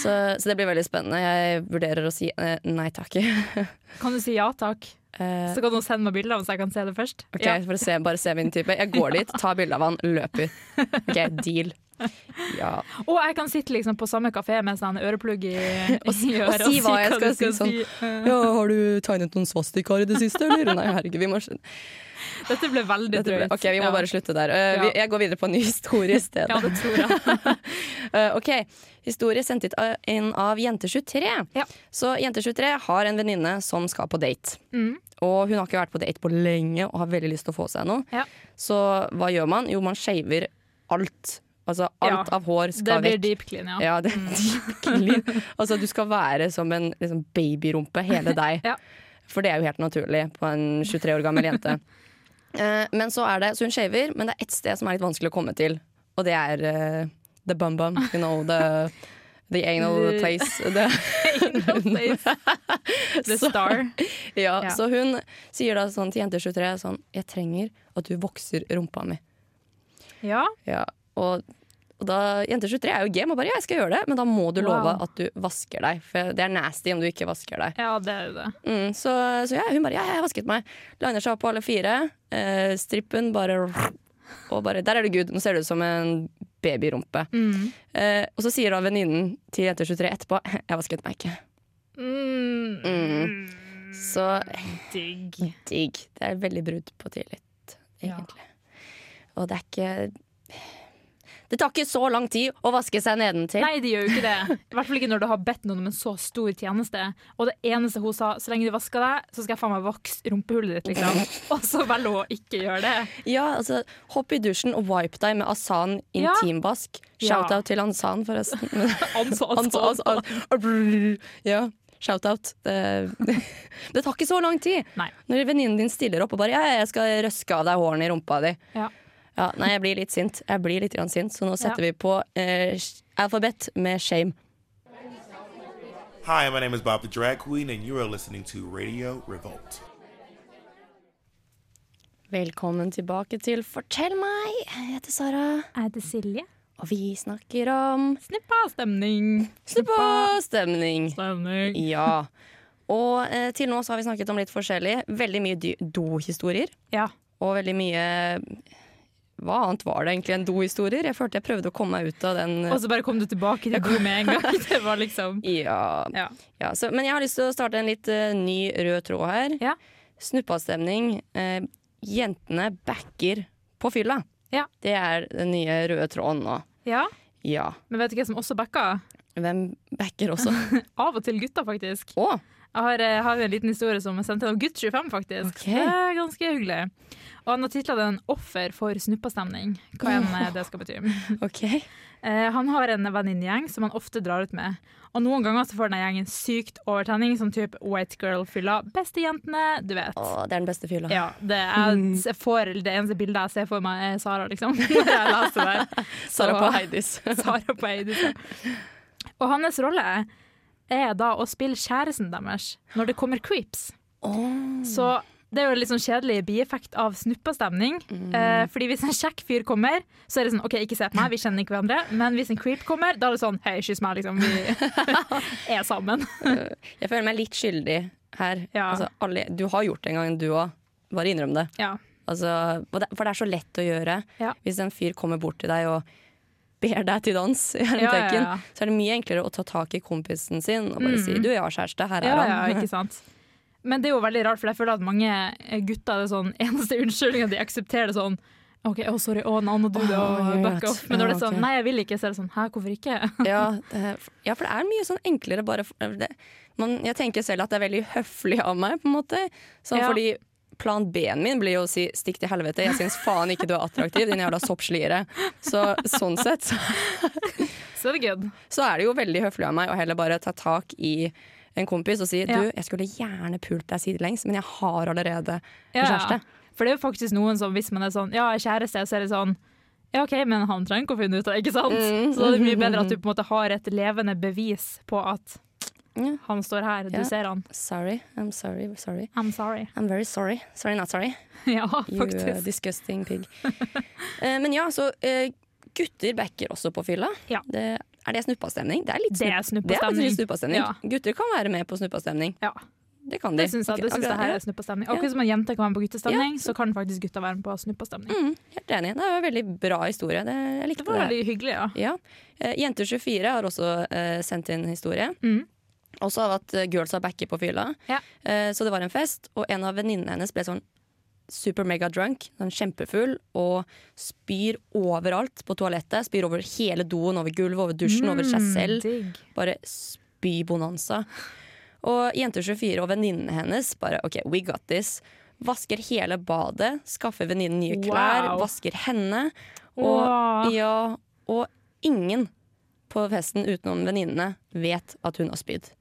[SPEAKER 1] Så, så det blir veldig spennende. Jeg vurderer å si eh, nei takk.
[SPEAKER 2] Kan du si ja takk?
[SPEAKER 1] Eh,
[SPEAKER 2] Så kan hun sende meg bilder så jeg kan se det først.
[SPEAKER 1] Ok,
[SPEAKER 2] Ja.
[SPEAKER 1] for å se, Bare se min type. Jeg går dit, tar bilde av han, løper. Ok, Deal. Ja.
[SPEAKER 2] Og jeg kan sitte liksom på samme kafé med sånn øreplugg i,
[SPEAKER 1] Og si-
[SPEAKER 2] i
[SPEAKER 1] og si hva jeg skal
[SPEAKER 2] du
[SPEAKER 1] si, sånn. ja, Har du tegnet noen svastikaer i det siste, eller? Nei, herregud, vi må Dette
[SPEAKER 2] Dette ble veldig
[SPEAKER 1] ble,
[SPEAKER 2] drøyt.
[SPEAKER 1] Ok, vi må
[SPEAKER 2] Ja.
[SPEAKER 1] bare slutte der. Eh, vi,
[SPEAKER 2] Ja.
[SPEAKER 1] jeg går videre på en ny historie i stedet.
[SPEAKER 2] Ja, det tror jeg.
[SPEAKER 1] Eh, ok, Historie sendt ut av- inn av Jente23.
[SPEAKER 2] Ja.
[SPEAKER 1] Så Jente23 har en venninne som skal på date.
[SPEAKER 2] Mm.
[SPEAKER 1] Og hun har ikke vært på date på lenge og har veldig lyst til å få seg noe.
[SPEAKER 2] Ja.
[SPEAKER 1] Så hva gjør man? Jo, man shaver alt. Altså alt
[SPEAKER 2] Ja,
[SPEAKER 1] av hår
[SPEAKER 2] Det
[SPEAKER 1] skal
[SPEAKER 2] blir
[SPEAKER 1] vekk.
[SPEAKER 2] deep clean, ja. Mm.
[SPEAKER 1] Ja, det er deep clean. Altså, du skal være som en liksom, babyrumpe, hele deg.
[SPEAKER 2] Ja.
[SPEAKER 1] For det er jo helt naturlig på en 23 år gammel jente. Eh, men så er det, så hun shaver, men det er ett sted som er litt vanskelig å komme til. Og det er eh, the bum bum. You know, the, the anal place. Det,
[SPEAKER 2] The star.
[SPEAKER 1] ja.
[SPEAKER 2] Ja.
[SPEAKER 1] Så hun sier da sånn til jenter 23 sånn Jeg trenger at du vokser rumpa mi.
[SPEAKER 2] Ja.
[SPEAKER 1] Ja, og, og da Jenter 23 er jo game og bare ja, jeg skal gjøre det, men da må du
[SPEAKER 2] Wow.
[SPEAKER 1] love at du vasker deg. For det er nasty om du ikke vasker deg.
[SPEAKER 2] ja, det er jo det.
[SPEAKER 1] Mm, så, så ja, hun bare ja, jeg vasket meg. Liner seg opp på alle fire. Eh, strippen bare Og bare der er du good, nå ser du ut som en babyrumpe.
[SPEAKER 2] Mm.
[SPEAKER 1] Eh, og så sier da venninnen til jenter 23 etterpå jeg vasket meg ikke.
[SPEAKER 2] Mm.
[SPEAKER 1] Mm. Så
[SPEAKER 2] Digg.
[SPEAKER 1] digg. Det er veldig brudd på tillit,
[SPEAKER 2] Ja.
[SPEAKER 1] egentlig. Og det er ikke Det tar ikke så lang tid å vaske seg nedentil.
[SPEAKER 2] Nei, de gjør jo ikke det. I hvert fall ikke når du har bedt noen om en så stor tjeneste. Og det eneste hun sa, så lenge du vasker deg, så skal jeg faen meg vokse rumpehullet ditt, liksom. Og så velger hun å ikke gjøre det.
[SPEAKER 1] Ja, altså, hopp i dusjen og wipe deg med Asan
[SPEAKER 2] Ja.
[SPEAKER 1] intimvask. Shout-out til Ansan, forresten.
[SPEAKER 2] Anså,
[SPEAKER 1] Han
[SPEAKER 2] anså,
[SPEAKER 1] sa-
[SPEAKER 2] anså.
[SPEAKER 1] Asan. Ja, shout-out. Det, det tar ikke så lang tid.
[SPEAKER 2] Nei.
[SPEAKER 1] Når venninnen din stiller opp og bare ja, 'jeg skal røske av deg hårene i rumpa di'.
[SPEAKER 2] Ja.
[SPEAKER 1] Ja, nei, jeg blir litt sint. Jeg blir litt grann sint, så nå setter vi på eh, alfabet med shame.
[SPEAKER 5] Hi, my name is Bob the Drag Queen, and you are listening to Radio Revolt.
[SPEAKER 1] Velkommen tilbake til Fortell meg. Jeg heter Sara,
[SPEAKER 2] Jeg heter Silje.
[SPEAKER 1] og vi snakker om
[SPEAKER 2] Snippa stemning.
[SPEAKER 1] snuppastemning.
[SPEAKER 2] Stemning.
[SPEAKER 1] Ja. Og eh, til nå så har vi snakket om litt forskjellig. Veldig mye dy- dohistorier.
[SPEAKER 2] Ja.
[SPEAKER 1] Og veldig mye Hva annet var det egentlig enn dohistorier? Jeg følte jeg prøvde å komme meg ut av den eh,
[SPEAKER 2] Og så bare kom du tilbake til god med en gang. Det var liksom
[SPEAKER 1] Ja.
[SPEAKER 2] Ja.
[SPEAKER 1] ja så, men jeg har lyst til å starte en litt eh, ny rød tråd her.
[SPEAKER 2] Ja.
[SPEAKER 1] Snuppastemning. Eh, jentene backer på fylla.
[SPEAKER 2] Ja.
[SPEAKER 1] Det er den nye røde tråden nå.
[SPEAKER 2] ja.
[SPEAKER 1] Ja.
[SPEAKER 2] Men vet du hva som også backa?
[SPEAKER 1] Hvem backer også?
[SPEAKER 2] Av og til gutter, faktisk.
[SPEAKER 1] Å!
[SPEAKER 2] Jeg har, eh, har jo en liten historie som jeg sendte en gutt 25, faktisk.
[SPEAKER 1] Ok.
[SPEAKER 2] Det er ganske hyggelig. Og han har titla den 'Offer for snuppastemning', hva enn eh, det skal bety.
[SPEAKER 1] OK.
[SPEAKER 2] Eh, han har en venninnegjeng som han ofte drar ut med. Og noen ganger så får den gjengen sykt overtenning, som type white girl-fylla. Bestejentene, du vet.
[SPEAKER 1] Å, det er den beste fylla.
[SPEAKER 2] Ja, det, er, jeg får, det eneste bildet jeg ser for meg, er Sara, liksom. Når jeg leser det.
[SPEAKER 1] Sara
[SPEAKER 2] Så-
[SPEAKER 1] på Heidis.
[SPEAKER 2] Sara på Eidis. Og hans rolle er da å spille kjæresten deres når det kommer creeps. Så det er jo en litt sånn kjedelig bieffekt av snuppastemning.
[SPEAKER 1] Mm.
[SPEAKER 2] Eh, fordi hvis en kjekk fyr kommer, så er det sånn OK, ikke se på meg, vi kjenner ikke hverandre. Men hvis en creep kommer, da er det sånn Hei, kyss meg, liksom. Vi er sammen.
[SPEAKER 1] Jeg føler meg litt skyldig her.
[SPEAKER 2] Ja.
[SPEAKER 1] Altså, alle, du har gjort det en gang, du òg. Bare innrøm det.
[SPEAKER 2] Ja.
[SPEAKER 1] Altså, og det- for det er så lett å gjøre.
[SPEAKER 2] Ja.
[SPEAKER 1] Hvis en fyr kommer bort til deg og ber deg til dans, i
[SPEAKER 2] Ja,
[SPEAKER 1] hermetegn,
[SPEAKER 2] ja, ja.
[SPEAKER 1] så er det mye enklere å ta tak i kompisen sin og bare si 'du, jeg har kjæreste, her er
[SPEAKER 2] Mm. Ja, ja,
[SPEAKER 1] han'.
[SPEAKER 2] ikke sant. Men det er jo veldig rart, for jeg føler at mange eh, gutter det er sånn, eneste unnskyldninga de aksepterer, det sånn OK, å, sorry, å, nå må du det,
[SPEAKER 1] Åh,
[SPEAKER 2] og
[SPEAKER 1] jeg
[SPEAKER 2] back
[SPEAKER 1] vet.
[SPEAKER 2] off. Men når det er
[SPEAKER 1] Ja,
[SPEAKER 2] sånn,
[SPEAKER 1] ok.
[SPEAKER 2] nei, jeg vil ikke, så er det sånn, hæ, hvorfor ikke?
[SPEAKER 1] Ja, det- ja, for det er mye sånn enklere bare for- det, man, Jeg tenker selv at det er veldig høflig av meg, på en måte. Sånn,
[SPEAKER 2] Ja.
[SPEAKER 1] Fordi plan B-en min blir jo å si 'stikk til helvete', jeg syns faen ikke du er attraktiv, din jævla soppsliere. Så sånn sett så
[SPEAKER 2] Så er det good.
[SPEAKER 1] så er det jo veldig høflig av meg å heller bare ta tak i en kompis og si
[SPEAKER 2] Ja.
[SPEAKER 1] du, jeg skulle gjerne pult deg sidelengs, men jeg har allerede
[SPEAKER 2] Ja, ja.
[SPEAKER 1] kjæreste.
[SPEAKER 2] For det er jo faktisk noen som, hvis man er sånn, ja, jeg er kjæreste, så er det sånn, ja, OK, men han trenger ikke å finne ut av det, ikke sant?
[SPEAKER 1] Mm.
[SPEAKER 2] Så det er mye bedre at du på en måte har et levende bevis på at
[SPEAKER 1] Ja.
[SPEAKER 2] han står her, du
[SPEAKER 1] Ja.
[SPEAKER 2] ser han.
[SPEAKER 1] Sorry, I'm sorry, sorry.
[SPEAKER 2] I'm sorry.
[SPEAKER 1] I'm very sorry. Sorry, not sorry.
[SPEAKER 2] ja,
[SPEAKER 1] You uh,
[SPEAKER 2] faktisk.
[SPEAKER 1] disgusting pig. Eh, men ja, så eh, gutter backer også på fylla.
[SPEAKER 2] Ja.
[SPEAKER 1] Det, er det snuppastemning? Det er litt
[SPEAKER 2] Det er
[SPEAKER 1] snupp- det er faktisk litt snuppastemning.
[SPEAKER 2] Ja.
[SPEAKER 1] Gutter kan være med på snuppastemning.
[SPEAKER 2] Ja.
[SPEAKER 1] Det kan de.
[SPEAKER 2] Det syns jeg, det syns jeg her er snuppastemning. Akkurat som en jente kan være med på guttestemning, så kan faktisk gutta være med på snuppastemning.
[SPEAKER 1] Mm, helt enig. Det er jo en veldig bra historie. Det, jeg likte
[SPEAKER 2] Det var
[SPEAKER 1] det.
[SPEAKER 2] veldig hyggelig, ja.
[SPEAKER 1] Ja. Eh, Jenter24 har også eh, sendt inn historie.
[SPEAKER 2] Mm.
[SPEAKER 1] Også av at eh, girls har backet på fylla.
[SPEAKER 2] Ja.
[SPEAKER 1] Eh, så det var en fest, og en av venninnene hennes ble sånn super mega drunk, sånn kjempefull, og spyr overalt på toalettet. Spyr over hele doen, over gulvet, over dusjen, over seg
[SPEAKER 2] Mm.
[SPEAKER 1] selv.
[SPEAKER 2] Digg.
[SPEAKER 1] Bare spybonanza. Og Jenter24 og venninnene hennes bare OK, we got this. Vasker hele badet, skaffer venninnen nye klær,
[SPEAKER 2] Wow.
[SPEAKER 1] vasker henne. Og,
[SPEAKER 2] Wow.
[SPEAKER 1] ja, og ingen på festen utenom venninnene vet at hun har spydd.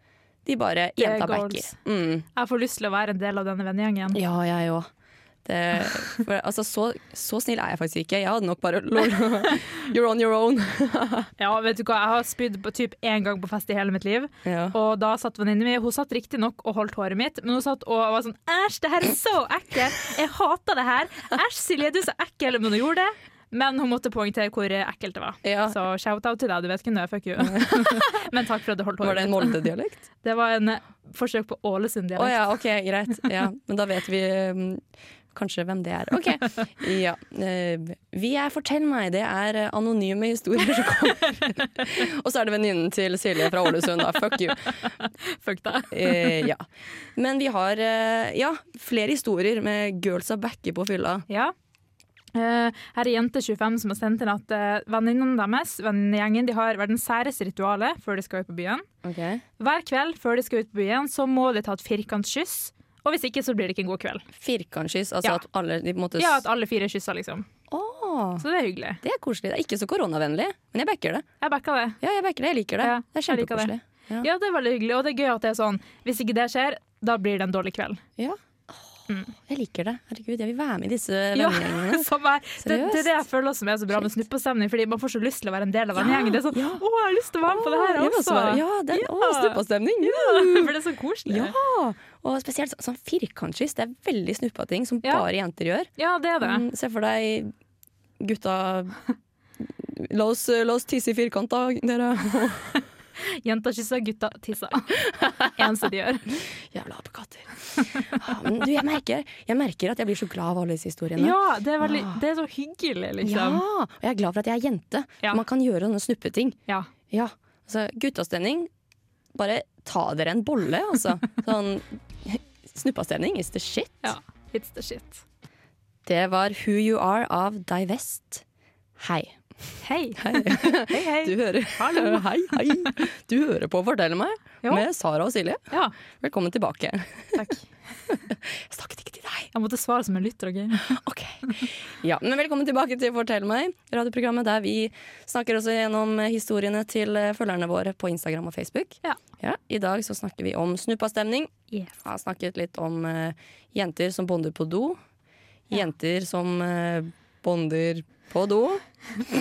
[SPEAKER 1] De bare Jenta
[SPEAKER 2] goals.
[SPEAKER 1] backer. Mm.
[SPEAKER 2] Jeg får lyst til å være en del av denne vennegjengen.
[SPEAKER 1] Ja, jeg òg. Det- for- Altså, så, så snill er jeg faktisk ikke. Jeg hadde nok bare lol, You're on your own.
[SPEAKER 2] Ja, vet du hva, jeg har spydd på typ én gang på fest i hele mitt liv.
[SPEAKER 1] Ja.
[SPEAKER 2] Og da satt venninnen min Hun satt riktignok og holdt håret mitt, men hun satt og var sånn Æsj, det her er så ekkelt! Jeg hater det her! Æsj, Silje, du er så ekkel! Men hun gjorde det. Men hun måtte poengtere hvor ekkelt det var.
[SPEAKER 1] Ja.
[SPEAKER 2] Så shout-out til deg, du vet hvem du er, fuck you. men takk for at du holdt
[SPEAKER 1] Var
[SPEAKER 2] håret
[SPEAKER 1] det en
[SPEAKER 2] mitt.
[SPEAKER 1] Molde-dialekt?
[SPEAKER 2] Det var en eh, forsøk på
[SPEAKER 1] Å
[SPEAKER 2] Ålesund-dialekt.
[SPEAKER 1] ja, OK, greit. Ja, men da vet vi um, kanskje hvem det er. OK. Ja. eh, Vi er Fortell meg. Det er eh, anonyme historier som kommer. Og så er det venninnen til Silje fra Ålesund, da. Fuck you.
[SPEAKER 2] Fuck deg.
[SPEAKER 1] Eh, ja. Men vi har eh, ja, flere historier med girls av backer på fylla.
[SPEAKER 2] Ja. Eh, her er jente 25 som har sendt inn at uh, venninnene deres venninnegjengen, de har verdens særeste rituale før de skal ut på byen. Hver kveld før de skal ut på byen, så må de ta et firkantskyss. Og hvis ikke, så blir det ikke en god kveld.
[SPEAKER 1] Firkantskyss, altså
[SPEAKER 2] Ja.
[SPEAKER 1] at alle de på en måte s-
[SPEAKER 2] Ja, at alle fire kysser, liksom.
[SPEAKER 1] Åh,
[SPEAKER 2] Så det er hyggelig.
[SPEAKER 1] Det er koselig. Det er ikke så koronavennlig, men jeg backer det.
[SPEAKER 2] Jeg backa det.
[SPEAKER 1] Ja, jeg backer det. Jeg liker det.
[SPEAKER 2] Ja,
[SPEAKER 1] det er
[SPEAKER 2] jeg liker
[SPEAKER 1] kjempekoselig. Ja.
[SPEAKER 2] Ja, det er veldig hyggelig, og det er gøy at det er sånn. Hvis ikke det skjer, da blir det en dårlig kveld.
[SPEAKER 1] Ja. Åh, Jeg liker det. Herregud, jeg vil være med i disse
[SPEAKER 2] Mm. Ja,
[SPEAKER 1] vennegjengene.
[SPEAKER 2] som er, det, det er
[SPEAKER 1] Seriøst?
[SPEAKER 2] det jeg føler som er så bra med snuppestemning, fordi man får så lyst til å være en del av vennegjengen. Det er sånn,
[SPEAKER 1] ja.
[SPEAKER 2] å, jeg har lyst til å være med på det her
[SPEAKER 1] Åh, jeg vil
[SPEAKER 2] også.
[SPEAKER 1] være- Ja, det er ja. snuppastemning. Ja.
[SPEAKER 2] For det er så koselig.
[SPEAKER 1] Ja. Og spesielt så- sånn firkantskyss. Det er veldig snuppating som
[SPEAKER 2] Ja.
[SPEAKER 1] bare jenter gjør.
[SPEAKER 2] Ja, det er det.
[SPEAKER 1] Mm, se for deg gutta La oss, la oss tisse i firkant, da, dere.
[SPEAKER 2] Jenta kysser, gutta tisser. Eneste de gjør.
[SPEAKER 1] Jævla apekatter. Ah, Men du, jeg merker, jeg merker at jeg blir så glad av alle disse historiene.
[SPEAKER 2] Ja, det er, veldig,
[SPEAKER 1] Ah.
[SPEAKER 2] det er så hyggelig,
[SPEAKER 1] Ja,
[SPEAKER 2] liksom.
[SPEAKER 1] og jeg er glad for at jeg er jente.
[SPEAKER 2] Ja.
[SPEAKER 1] Man kan gjøre sånne snuppeting.
[SPEAKER 2] Ja.
[SPEAKER 1] Ja, altså guttastemning, bare ta dere en bolle, altså. Sånn snuppastemning is the shit.
[SPEAKER 2] ja. It's the shit.
[SPEAKER 1] Det var Who You Are av Divest. Hei.
[SPEAKER 2] Hei.
[SPEAKER 1] Hei.
[SPEAKER 2] Hei, hei.
[SPEAKER 1] Du hører Hallo, hei, hei. Du hører på Fortell meg
[SPEAKER 2] Jo.
[SPEAKER 1] med Sara og Silje.
[SPEAKER 2] Ja,
[SPEAKER 1] Velkommen tilbake.
[SPEAKER 2] takk.
[SPEAKER 1] Jeg snakket ikke til deg.
[SPEAKER 2] Jeg måtte svare som en lytter. ok?
[SPEAKER 1] Ok. Ja, men velkommen tilbake til Fortell meg, radioprogrammet der vi snakker også gjennom historiene til eh, følgerne våre på Instagram og Facebook.
[SPEAKER 2] Ja.
[SPEAKER 1] I dag så snakker vi om snuppastemning.
[SPEAKER 2] Yes.
[SPEAKER 1] Jeg har snakket litt om eh, jenter som bonder på do. Jenter som eh, bonder på do.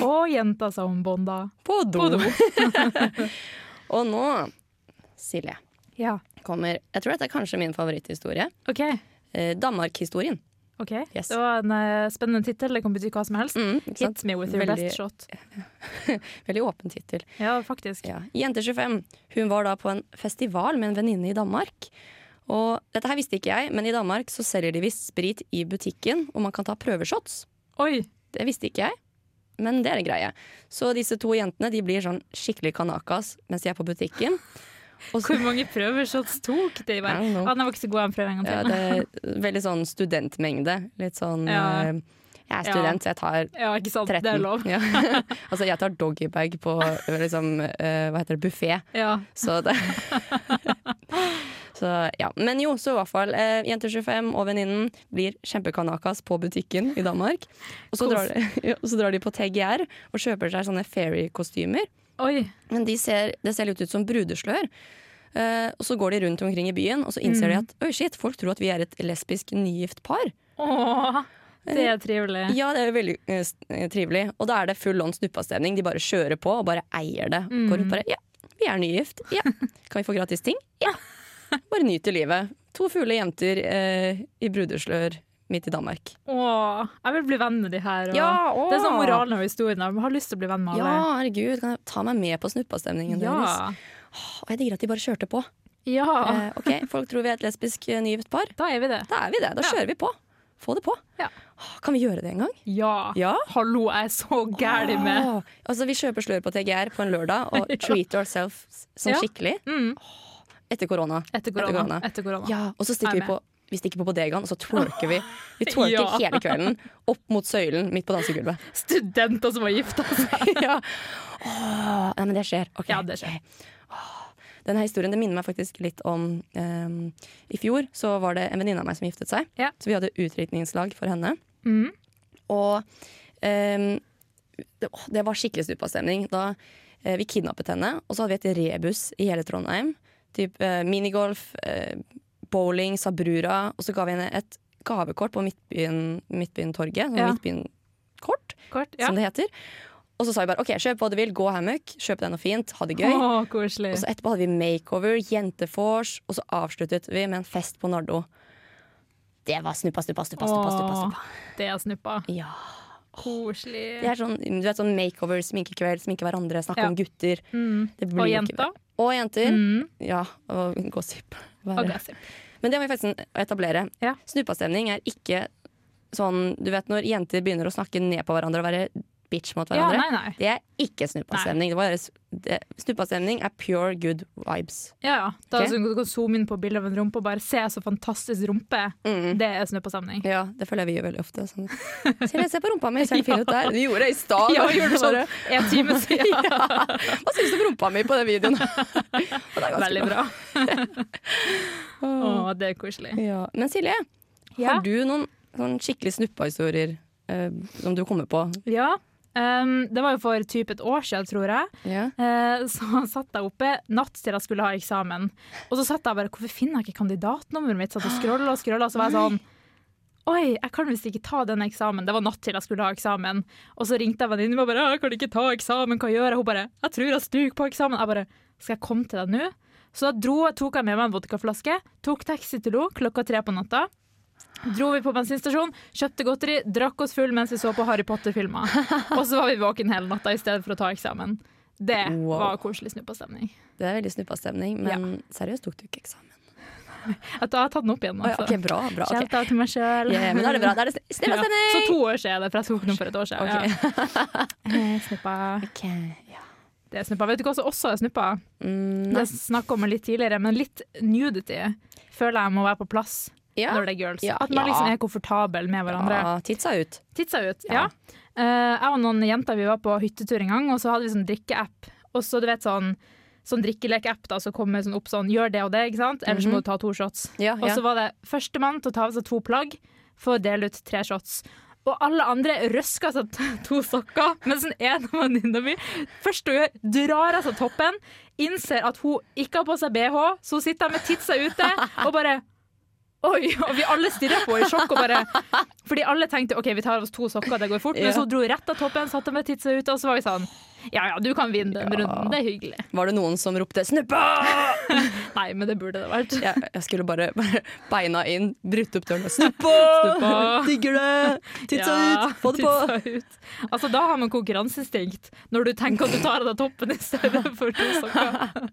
[SPEAKER 2] Og jenta som bonda.
[SPEAKER 1] På do.
[SPEAKER 2] På do.
[SPEAKER 1] og nå, Silje,
[SPEAKER 2] Ja.
[SPEAKER 1] kommer Jeg tror dette er kanskje min favoritthistorie.
[SPEAKER 2] OK.
[SPEAKER 1] Eh, Danmark-historien.
[SPEAKER 2] ok.
[SPEAKER 1] Yes.
[SPEAKER 2] Det var en eh, spennende tittel. Det kan bety hva som helst.
[SPEAKER 1] Mm, ikke sant?
[SPEAKER 2] Hit me with your
[SPEAKER 1] Veldig-
[SPEAKER 2] best shot.
[SPEAKER 1] Veldig åpen tittel.
[SPEAKER 2] Ja, faktisk.
[SPEAKER 1] Ja. Jente 25. Hun var da på en festival med en venninne i Danmark. Og dette her visste ikke jeg, men i Danmark så selger de visst sprit i butikken, og man kan ta prøveshots.
[SPEAKER 2] Oi!
[SPEAKER 1] Det visste ikke jeg, men det er en greie. Så disse to jentene de blir sånn skikkelig kanakas mens de er på butikken. Og så,
[SPEAKER 2] Hvor mange prøveshots tok de? Bare?
[SPEAKER 1] I don't know.
[SPEAKER 2] Ah, den var ikke så god, den prøven en
[SPEAKER 1] ja,
[SPEAKER 2] gang til.
[SPEAKER 1] det er veldig sånn studentmengde. Litt sånn
[SPEAKER 2] Ja.
[SPEAKER 1] eh, Jeg er student, så jeg tar
[SPEAKER 2] Ja, ikke sant.
[SPEAKER 1] 13.
[SPEAKER 2] Det er lov.
[SPEAKER 1] Ja. altså, jeg tar doggybag på liksom, eh, hva heter det, buffé.
[SPEAKER 2] Ja.
[SPEAKER 1] Så det Så ja. Men jo, så i hvert fall. Eh, Jenter 25 og venninnen blir kjempekanakas på butikken i Danmark. Og så,
[SPEAKER 2] Kos.
[SPEAKER 1] drar de, ja, og så drar de på TGR og kjøper seg sånne fairy-kostymer.
[SPEAKER 2] Oi.
[SPEAKER 1] Men de ser, det ser litt ut som brudeslør. Eh, og så går de rundt omkring i byen, og så innser de at oi shit, folk tror at vi er et lesbisk nygift par.
[SPEAKER 2] Åh, det er trivelig.
[SPEAKER 1] Ja, det er jo veldig eh, s- eh, trivelig. Og da er det full on snuppastemning. De bare kjører på og bare eier det. Går
[SPEAKER 2] Mm.
[SPEAKER 1] rundt bare Ja, vi er nygift. Ja. Kan vi få gratis ting? Ja. Bare nyter livet. To fulle jenter eh, i brudeslør midt i Danmark.
[SPEAKER 2] Åh, jeg vil bli venn med de her. Og
[SPEAKER 1] Ja, åh.
[SPEAKER 2] det er sånn moralen av historien. Jeg har lyst til å bli venn med alle.
[SPEAKER 1] Ja, herregud, kan jeg ta meg med på snuppastemningen deres?
[SPEAKER 2] Ja.
[SPEAKER 1] Og jeg digger at de bare kjørte på.
[SPEAKER 2] ja.
[SPEAKER 1] Eh, ok, folk tror vi er et lesbisk eh, nygift par.
[SPEAKER 2] Da er vi det.
[SPEAKER 1] Da er vi det. Da kjører vi på. Få det på.
[SPEAKER 2] Ja.
[SPEAKER 1] Åh, Kan vi gjøre det en gang?
[SPEAKER 2] Ja.
[SPEAKER 1] Ja.
[SPEAKER 2] Hallo, jeg er så gæren med.
[SPEAKER 1] Åh, altså, vi kjøper slør på TGR på en lørdag og treat ourselves som
[SPEAKER 2] Ja.
[SPEAKER 1] skikkelig. Ah,
[SPEAKER 2] Mm.
[SPEAKER 1] Etter korona.
[SPEAKER 2] Etter korona. Etter korona.
[SPEAKER 1] Ja, og så stikker
[SPEAKER 2] Jeg
[SPEAKER 1] vi på vi stikker på på Degan, og så twerker vi Vi twerker
[SPEAKER 2] Ja.
[SPEAKER 1] hele kvelden opp mot søylen midt på dansegulvet.
[SPEAKER 2] Studenter som har gifta seg.
[SPEAKER 1] ja. Åh, nei, men det skjer. Ok.
[SPEAKER 2] Ja, det skjer.
[SPEAKER 1] ok. Åh, Denne historien det minner meg faktisk litt om ehm, I fjor så var det en venninne av meg som giftet seg.
[SPEAKER 2] Ja.
[SPEAKER 1] Så vi hadde utdrikningslag for henne.
[SPEAKER 2] Mm.
[SPEAKER 1] Og ehm, det, åh, det var skikkelig stupastemning. Da eh, vi kidnappet henne, og så hadde vi et rebus i hele Trondheim. Typ eh, minigolf, eh, bowling, Sabrura. Og så ga vi henne et gavekort på Midtbyen, Midtbyen torget. Sånn
[SPEAKER 2] Ja.
[SPEAKER 1] Midtbyen-kort,
[SPEAKER 2] Kort. Ja.
[SPEAKER 1] som det heter. Og så sa vi bare OK, kjøp hva du vil, gå hammock, kjøp deg noe fint, ha det gøy.
[SPEAKER 2] Åh, koselig.
[SPEAKER 1] Og så etterpå hadde vi makeover, jentefors, og så avsluttet vi med en fest på Nardo. Det var snuppa, snuppa, snuppa, snuppa, snuppa,
[SPEAKER 2] Åh,
[SPEAKER 1] snuppa.
[SPEAKER 2] Det er snuppa.
[SPEAKER 1] Ja. Det
[SPEAKER 2] Koselig.
[SPEAKER 1] er sånn, du vet, sånn makeover, sminkekveld, sminke hverandre, snakke
[SPEAKER 2] Ja.
[SPEAKER 1] om gutter.
[SPEAKER 2] Mm.
[SPEAKER 1] Det blir
[SPEAKER 2] Og
[SPEAKER 1] ikke
[SPEAKER 2] jenta.
[SPEAKER 1] bra. Og jenter.
[SPEAKER 2] Mm.
[SPEAKER 1] Ja, og gossip. Være.
[SPEAKER 2] Og gossip.
[SPEAKER 1] Men det må vi faktisk etablere.
[SPEAKER 2] Ja.
[SPEAKER 1] Snuppastemning er ikke sånn Du vet når jenter begynner å snakke ned på hverandre og være bitch mot
[SPEAKER 2] Ja,
[SPEAKER 1] hverandre.
[SPEAKER 2] nei, nei.
[SPEAKER 1] det er ikke snuppastemning. Det var deres- det- Snuppastemning er pure good vibes.
[SPEAKER 2] Ja, ja. Da
[SPEAKER 1] Ok.
[SPEAKER 2] okay. du kan zoome inn på bildet av en rumpe og bare se så fantastisk rumpe.
[SPEAKER 1] Mm.
[SPEAKER 2] Det er snuppasamling.
[SPEAKER 1] Ja, det føler jeg vi gjør veldig ofte. Sånn. Silje, se på rumpa mi, ser den fin ut der? Du gjorde det i stad.
[SPEAKER 2] Ja,
[SPEAKER 1] da.
[SPEAKER 2] vi gjorde det
[SPEAKER 1] Bare,
[SPEAKER 2] sånn en time siden.
[SPEAKER 1] Hva syns du om rumpa mi på den videoen? Og det er ganske
[SPEAKER 2] Veldig bra. Å, det er koselig.
[SPEAKER 1] Ja. Men Silje,
[SPEAKER 2] Ja.
[SPEAKER 1] Mm. har du noen sånn skikkelig snuppa-historier eh, som du kommer på?
[SPEAKER 2] Ja. Um, det var jo for typ et år siden, tror jeg.
[SPEAKER 1] Ja.
[SPEAKER 2] Eh, så satt jeg oppe natt til jeg skulle ha eksamen. Og så satt jeg bare Hvorfor finner jeg ikke kandidatnummeret mitt? Satt og scrolla og scrolla, og så var jeg sånn Oi, jeg kan visst ikke ta den eksamen. Det var natt til jeg skulle ha eksamen. Og så ringte jeg venninnen min og bare «Jeg 'Kan du ikke ta eksamen? Hva gjør jeg?' Hun bare 'Jeg tror jeg stryker på eksamen'. Jeg bare 'Skal jeg komme til deg nå?' Så da dro, tok jeg med meg en vodkaflaske, tok taxi til henne klokka tre på natta. Dro vi på bensinstasjonen, kjøpte godteri, drakk oss full mens vi så på Harry Potter-filmer. Og så var vi våken hele natta i stedet for å ta eksamen. Det
[SPEAKER 1] Wow.
[SPEAKER 2] var koselig snuppastemning.
[SPEAKER 1] Det er veldig snuppa-stemning, men seriøst tok du ikke eksamen?
[SPEAKER 2] At da har jeg tatt den opp igjen.
[SPEAKER 1] Å ja,
[SPEAKER 2] Altså.
[SPEAKER 1] ok, bra, bra. ok.
[SPEAKER 2] Shout out til meg sjøl.
[SPEAKER 1] Ja, men da er det bra. Da er det
[SPEAKER 2] Ja, så
[SPEAKER 1] snuppa-stemning!
[SPEAKER 2] to år siden, for jeg tok den opp for et år siden. Ja. Eh, Snuppa. Det er snuppa. Vet du hva som også er snuppa?
[SPEAKER 1] Mm,
[SPEAKER 2] Det snakka om litt tidligere, men litt nudity føler jeg må være på plass
[SPEAKER 1] ja.
[SPEAKER 2] når det er girls.
[SPEAKER 1] Ja,
[SPEAKER 2] At man
[SPEAKER 1] ja.
[SPEAKER 2] liksom er komfortabel med hverandre.
[SPEAKER 1] ja, titsa ut.
[SPEAKER 2] Titsa ut, ja.
[SPEAKER 1] Ja.
[SPEAKER 2] Eh, jeg og noen jenter vi var på hyttetur en gang, og så hadde vi sånn drikkeapp. Og så du vet sånn, sånn drikkelekapp da, så kommer sånn opp sånn, gjør det og det, ikke sant? Ellers så må du ta to shots.
[SPEAKER 1] Mhm. Ja,
[SPEAKER 2] Og
[SPEAKER 1] ja.
[SPEAKER 2] så var det førstemann til å ta av seg to plagg for å dele ut tre shots. Og alle andre røsker seg t- to sokker, mens den ene venninna mi først hun gjør, drar av seg toppen, innser at hun ikke har på seg BH, så hun sitter der med titsa ute og bare Oi! Og vi alle stirrer på henne i sjokk. Og bare, fordi alle tenkte OK, vi tar av oss to sokker, det går fort. Men
[SPEAKER 1] Ja.
[SPEAKER 2] så dro hun rett av toppen, satte med titsa ute, og så var vi sånn Ja ja, du kan vinne den runden. Det er hyggelig.
[SPEAKER 1] Var det noen som ropte 'snuppa'?
[SPEAKER 2] Nei, men det burde det vært.
[SPEAKER 1] Jeg, jeg skulle bare, bare beina inn, brutt opp døren og 'snuppa'!
[SPEAKER 2] Snuppa!
[SPEAKER 1] Digger det! Titsa
[SPEAKER 2] Ja,
[SPEAKER 1] ut! Få det på!
[SPEAKER 2] titsa ut. Altså, da har man konkurranseinstinkt, når du tenker at du tar av deg toppen i stedet for to sokker.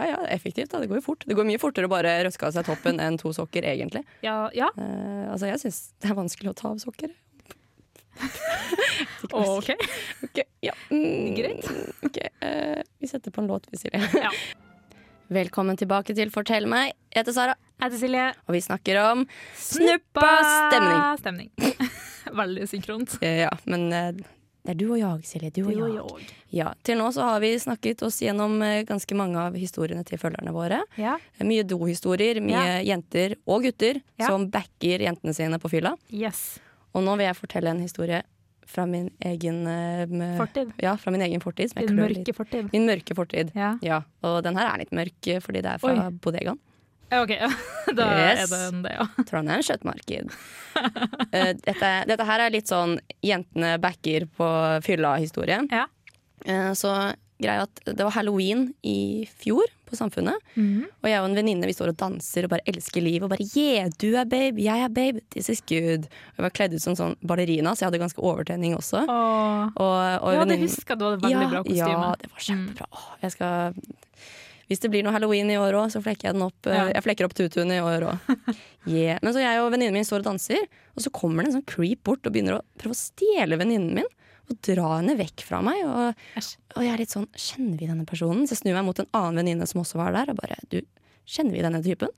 [SPEAKER 1] Ja ja, effektivt. Da. Det går jo fort. Det går mye fortere å bare røske av seg toppen enn to sokker, egentlig.
[SPEAKER 2] Ja, ja.
[SPEAKER 1] Eh, altså, jeg syns det er vanskelig å ta av sokker.
[SPEAKER 2] OK.
[SPEAKER 1] Ok, ja. Mm,
[SPEAKER 2] Greit.
[SPEAKER 1] ok, eh, vi setter på en låt, vi, Silje.
[SPEAKER 2] Ja.
[SPEAKER 1] Velkommen tilbake til Fortell meg. Jeg heter Sara,
[SPEAKER 2] Jeg heter Silje.
[SPEAKER 1] og vi snakker om snuppa stemning.
[SPEAKER 2] Stemning. Veldig synkront.
[SPEAKER 1] Eh, ja, men eh, det er du og jeg, Silje. Du og
[SPEAKER 2] Jo,
[SPEAKER 1] jeg.
[SPEAKER 2] jo.
[SPEAKER 1] Ja, til nå så har vi snakket oss gjennom eh, ganske mange av historiene til følgerne våre.
[SPEAKER 2] Ja.
[SPEAKER 1] Eh, Mye do-historier, mye jenter og gutter
[SPEAKER 2] Ja.
[SPEAKER 1] som backer jentene sine på fylla.
[SPEAKER 2] Yes.
[SPEAKER 1] Og nå vil jeg fortelle en historie fra min egen eh, m-
[SPEAKER 2] Fortid.
[SPEAKER 1] Ja, fra min egen fortid. som jeg
[SPEAKER 2] Din
[SPEAKER 1] klør litt-
[SPEAKER 2] mørke fortid.
[SPEAKER 1] Min mørke fortid. Ja.
[SPEAKER 2] Ja.
[SPEAKER 1] Og den her er litt mørk eh, fordi det er fra
[SPEAKER 2] Oi.
[SPEAKER 1] bodegaen.
[SPEAKER 2] OK, da
[SPEAKER 1] Yes.
[SPEAKER 2] er det en det, ja.
[SPEAKER 1] Trondheim kjøttmarked. Eh, dette, dette her er litt sånn jentene backer på fylla-historie.
[SPEAKER 2] Ja.
[SPEAKER 1] Eh, så greia at det var halloween i fjor på Samfunnet.
[SPEAKER 2] Mhm.
[SPEAKER 1] Og jeg og en venninne vi står og danser og bare elsker livet. Og bare yeah, du er babe, jeg er babe, this is good. Og jeg var kledd ut som sånn ballerina, så jeg hadde ganske overtenning også.
[SPEAKER 2] Åh.
[SPEAKER 1] Og, og
[SPEAKER 2] Ja, det
[SPEAKER 1] venninnen-
[SPEAKER 2] husker jeg. Du hadde veldig bra kostyme. Mm.
[SPEAKER 1] ja, det var kjempebra. Åh, Jeg skal, hvis det blir noe halloween i år òg, så flekker jeg den opp. eh,
[SPEAKER 2] Ja.
[SPEAKER 1] Jeg flekker opp tutuen i år òg. Yeah. Men så jeg og venninnen min står og danser, og så kommer det en sånn creep bort og begynner å prøve å stjele venninnen min. Og dra henne vekk fra meg. Og,
[SPEAKER 2] Æsj.
[SPEAKER 1] og jeg er litt sånn Kjenner vi denne personen? Så jeg snur meg mot en annen venninne som også var der, og bare Du, kjenner vi denne typen?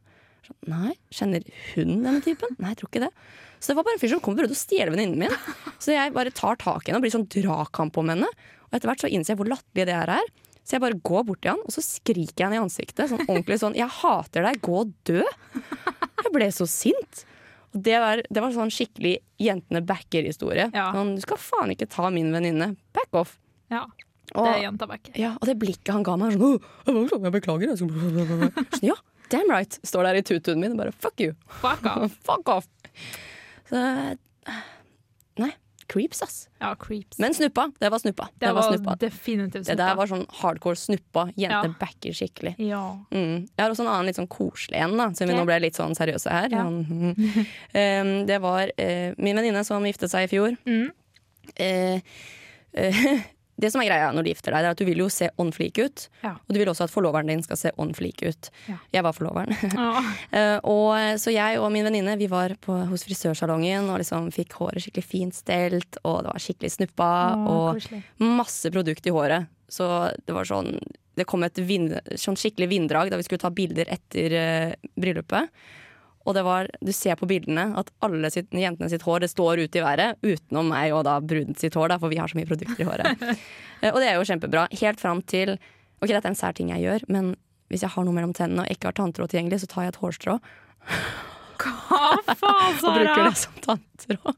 [SPEAKER 1] Sånn, Nei. Kjenner hun denne typen? Nei, jeg tror ikke det. Så det var bare en fyr som kom og prøvde å stjele venninnen min. Så jeg bare tar tak i henne og blir sånn dragkamp om henne. Og etter hvert så innser jeg hvor latterlig det her er. Så jeg bare går bort til han, og så skriker jeg henne i ansiktet. Sånn ordentlig sånn 'Jeg hater deg, gå og dø'. Jeg ble så sint. Og det var, det var sånn skikkelig jentene backer-historie.
[SPEAKER 2] Ja.
[SPEAKER 1] Sånn, du skal faen ikke ta min venninne. Back off.
[SPEAKER 2] Ja,
[SPEAKER 1] Og,
[SPEAKER 2] det er jenta bak.
[SPEAKER 1] ja, og det blikket han ga meg er sånn «Åh, jeg beklager, jeg beklager. jeg skal- Sånn, ja, damn right. Står der i tutuen min og bare fuck you.
[SPEAKER 2] Fuck off.
[SPEAKER 1] Fuck off. Så, eh, nei, creeps, ass.
[SPEAKER 2] Ja, creeps.
[SPEAKER 1] Men snuppa. Det var snuppa.
[SPEAKER 2] det
[SPEAKER 1] var
[SPEAKER 2] var
[SPEAKER 1] snuppa.
[SPEAKER 2] definitivt
[SPEAKER 1] Det der
[SPEAKER 2] snuppa.
[SPEAKER 1] var sånn hardcore snuppa. Jentene
[SPEAKER 2] Ja.
[SPEAKER 1] backer skikkelig.
[SPEAKER 2] Ja.
[SPEAKER 1] Mm. Jeg har også en annen litt sånn koselig en, da, siden vi
[SPEAKER 2] Ok.
[SPEAKER 1] nå ble litt sånn seriøse her.
[SPEAKER 2] Ja.
[SPEAKER 1] Sånn, mhm. um, det var eh, min venninne som giftet seg i fjor.
[SPEAKER 2] Mm.
[SPEAKER 1] Eh, eh, det som er greia når du gifter deg, det er at du vil jo se on fleek ut.
[SPEAKER 2] Ja.
[SPEAKER 1] Og du vil også at forloveren din skal se on fleek ut.
[SPEAKER 2] Ja.
[SPEAKER 1] Jeg var forloveren.
[SPEAKER 2] Åh.
[SPEAKER 1] Eh, og, så jeg og min venninne Vi var på, hos frisørsalongen og liksom fikk håret skikkelig fint stelt, og det var skikkelig snuppa.
[SPEAKER 2] Åh,
[SPEAKER 1] og
[SPEAKER 2] koselig.
[SPEAKER 1] masse produkt i håret. Så det var sånn Det kom et vind, sånn skikkelig vinddrag da vi skulle ta bilder etter eh, bryllupet. Og det var, du ser på bildene at alle sitt, jentene sitt hår det står ute i været, utenom meg og da bruden sitt hår, da, for vi har så mye produkter i håret. Eh, og det er jo kjempebra. Helt fram til Ok, dette er en sær ting jeg gjør, men hvis jeg har noe mellom tennene og ikke har tanntråd tilgjengelig, så tar jeg et hårstrå og
[SPEAKER 2] Hva faen,
[SPEAKER 1] bruker
[SPEAKER 2] Sara?
[SPEAKER 1] det som tanntråd.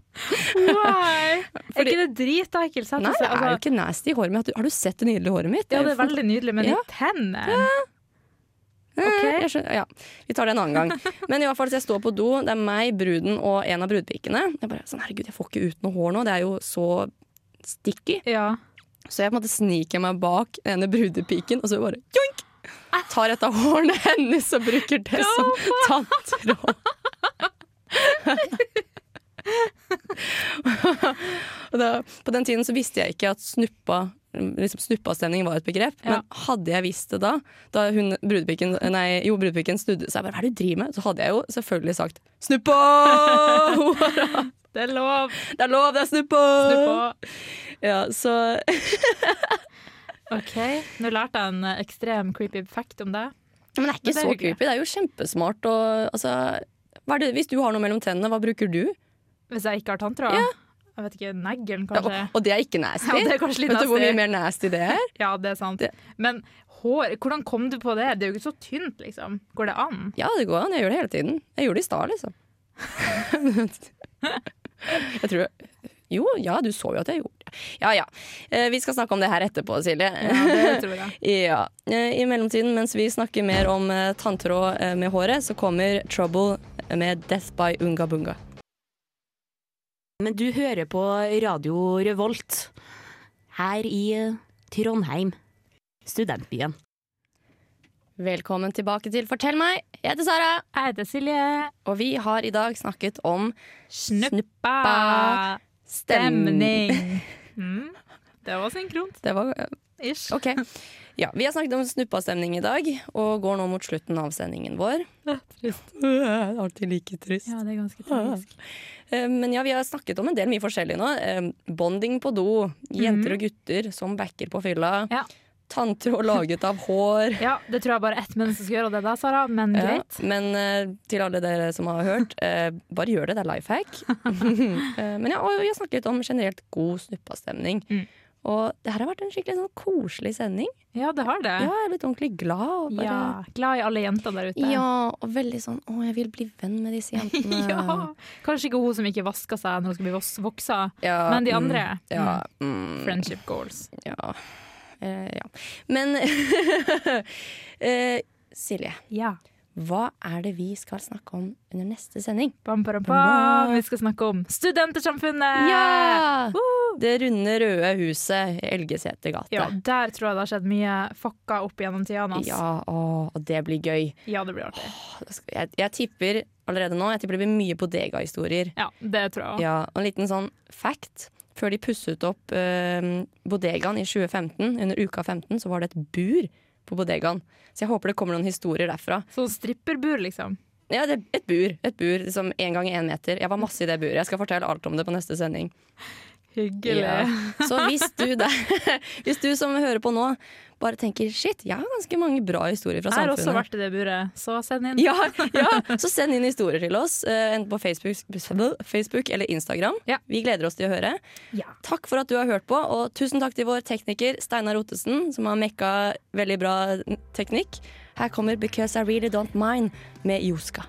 [SPEAKER 2] Why? Er
[SPEAKER 1] Fordi-
[SPEAKER 2] ikke det dritekkelt?
[SPEAKER 1] Nei, det er jo ikke nasty i håret mitt. Har du- Har du sett det nydelige håret mitt?
[SPEAKER 2] Altså, Ja, det er veldig nydelig, men
[SPEAKER 1] Ja.
[SPEAKER 2] i tennene Ok.
[SPEAKER 1] Jeg skjønner, ja. Vi tar det en annen gang. Men i hvert fall, så jeg står på do, det er meg, bruden og en av brudepikene. Jeg bare sånn, herregud, jeg får ikke ut noe hår nå, det er jo så sticky.
[SPEAKER 2] Ja.
[SPEAKER 1] Så jeg på en måte sniker meg bak den ene brudepiken, og så bare joink! Tar et av hårene hennes og bruker det som tanntråd. Og da- på den tiden så visste jeg ikke at snuppa Liksom snuppastemning var et begrep,
[SPEAKER 2] Ja.
[SPEAKER 1] men hadde jeg visst det da, da hun, brudepiken, nei, jo, brudepiken snudde seg bare, hva er det du driver med? Så hadde jeg jo selvfølgelig sagt snuppa!
[SPEAKER 2] Det er lov.
[SPEAKER 1] Det er lov, det er snuppa!
[SPEAKER 2] Du på.
[SPEAKER 1] Ja, så
[SPEAKER 2] OK, nå lærte jeg en eh, ekstrem creepy fact om deg.
[SPEAKER 1] Men det er ikke
[SPEAKER 2] Men det er
[SPEAKER 1] så
[SPEAKER 2] hyggelig.
[SPEAKER 1] creepy. Det er jo kjempesmart. Og, altså, hva er det, hvis du har noe mellom tennene, hva bruker du?
[SPEAKER 2] Hvis jeg ikke har tanntråd. Jeg vet ikke, neglen
[SPEAKER 1] Ja,
[SPEAKER 2] kanskje?
[SPEAKER 1] og, og det er ikke nasty.
[SPEAKER 2] Ja, det er kanskje litt
[SPEAKER 1] Vet du hvor
[SPEAKER 2] nasty.
[SPEAKER 1] mye mer nasty det er?
[SPEAKER 2] Ja, det er sant.
[SPEAKER 1] Det-
[SPEAKER 2] Men hår, hvordan kom du på det? Det er jo ikke så tynt, liksom. Går det an?
[SPEAKER 1] Ja, det går an. Jeg gjør det hele tiden. Jeg gjorde det i stad, liksom. jeg tror Jo, ja, du så jo at jeg gjorde det. Ja ja. Eh, Vi skal snakke om det her etterpå, Silje.
[SPEAKER 2] Ja, det tror jeg.
[SPEAKER 1] Ja. Eh, I mellomtiden, mens vi snakker mer om eh, tanntråd eh, med håret, så kommer Trouble med Death by Unga Bunga.
[SPEAKER 6] Men du hører på Radio Revolt her i eh, Trondheim, studentbyen.
[SPEAKER 1] Velkommen tilbake til Fortell meg. Jeg heter Sara,
[SPEAKER 2] Jeg heter Silje.
[SPEAKER 1] og vi har i dag snakket om
[SPEAKER 2] Snuppa stemning. Mm. Det var synkront.
[SPEAKER 1] Det var
[SPEAKER 2] Ish.
[SPEAKER 1] OK. Ja, vi har snakket om snuppastemning i dag, og går nå mot slutten av sendingen vår.
[SPEAKER 2] Trist.
[SPEAKER 1] Alltid like trist.
[SPEAKER 2] Ja, det er ganske tragisk.
[SPEAKER 1] Eh, Men ja, vi har snakket om en del mye forskjellig nå. Eh, Bonding på do, jenter og gutter som backer på fylla,
[SPEAKER 2] Ja.
[SPEAKER 1] tanntråd laget av hår.
[SPEAKER 2] Ja, det tror jeg bare ett menneske skal gjøre det da, Sara, men
[SPEAKER 1] Ja,
[SPEAKER 2] greit.
[SPEAKER 1] men eh, til alle dere som har hørt, eh, bare gjør det, det er life hack. Eh, men ja, og vi har snakket litt om generelt god snuppastemning.
[SPEAKER 2] Mm.
[SPEAKER 1] Og det her har vært en skikkelig sånn koselig sending.
[SPEAKER 2] Ja, det har det.
[SPEAKER 1] Ja, jeg er blitt ordentlig glad. Og bare,
[SPEAKER 2] Ja, glad i alle jenter der ute.
[SPEAKER 1] Ja, og veldig sånn 'Å, jeg vil bli venn med disse jentene'.
[SPEAKER 2] Ja. Kanskje ikke hun som ikke vasker seg når hun skal bli vos- voksa,
[SPEAKER 1] Ja,
[SPEAKER 2] men de
[SPEAKER 1] mm,
[SPEAKER 2] andre.
[SPEAKER 1] Ja.
[SPEAKER 2] Mm.
[SPEAKER 1] Mm,
[SPEAKER 2] Friendship goals.
[SPEAKER 1] ja. Eh, ja. Men eh, Silje,
[SPEAKER 2] Ja.
[SPEAKER 1] hva er det vi skal snakke om under neste sending?
[SPEAKER 2] Bam, bam, bam. Vi skal snakke om Studentersamfunnet!
[SPEAKER 1] Ja!
[SPEAKER 2] Woo!
[SPEAKER 1] Det runde, røde huset i Elgeseter gate.
[SPEAKER 2] Ja, der tror jeg det har skjedd mye fucka opp gjennom tidene. ass.
[SPEAKER 1] Ja, å, og det blir gøy.
[SPEAKER 2] ja, det blir artig.
[SPEAKER 1] Å, da skal- Jeg, jeg tipper allerede nå Jeg tipper det blir mye bodega-historier.
[SPEAKER 2] Ja, det tror jeg også.
[SPEAKER 1] Ja, og en liten sånn fact. Før de pusset opp eh, bodegaen i 2015, under uka 15, så var det et bur på bodegaen. Så jeg håper det kommer noen historier derfra.
[SPEAKER 2] Sånn stripperbur, liksom.
[SPEAKER 1] Ja, det, et bur. Et bur liksom én gang én meter. Jeg var masse i det buret. Jeg skal fortelle alt om det på neste sending.
[SPEAKER 2] Hyggelig.
[SPEAKER 1] Ja.
[SPEAKER 2] eh.
[SPEAKER 1] Så hvis du, der, hvis du som hører på nå, bare tenker shit, jeg har ganske mange bra historier fra
[SPEAKER 2] Jeg har også
[SPEAKER 1] samfunnet.
[SPEAKER 2] vært i det buret, så send inn.
[SPEAKER 1] Ja, ja, Så send inn historier til oss, eh, enten på Facebook, Facebook eller Instagram.
[SPEAKER 2] Ja.
[SPEAKER 1] Vi gleder oss til å høre.
[SPEAKER 2] Ja.
[SPEAKER 1] Takk for at du har hørt på, og tusen takk til vår tekniker Steinar Ottesen, som har mekka veldig bra teknikk. Her kommer 'Because I Really Don't Mind' med Joska.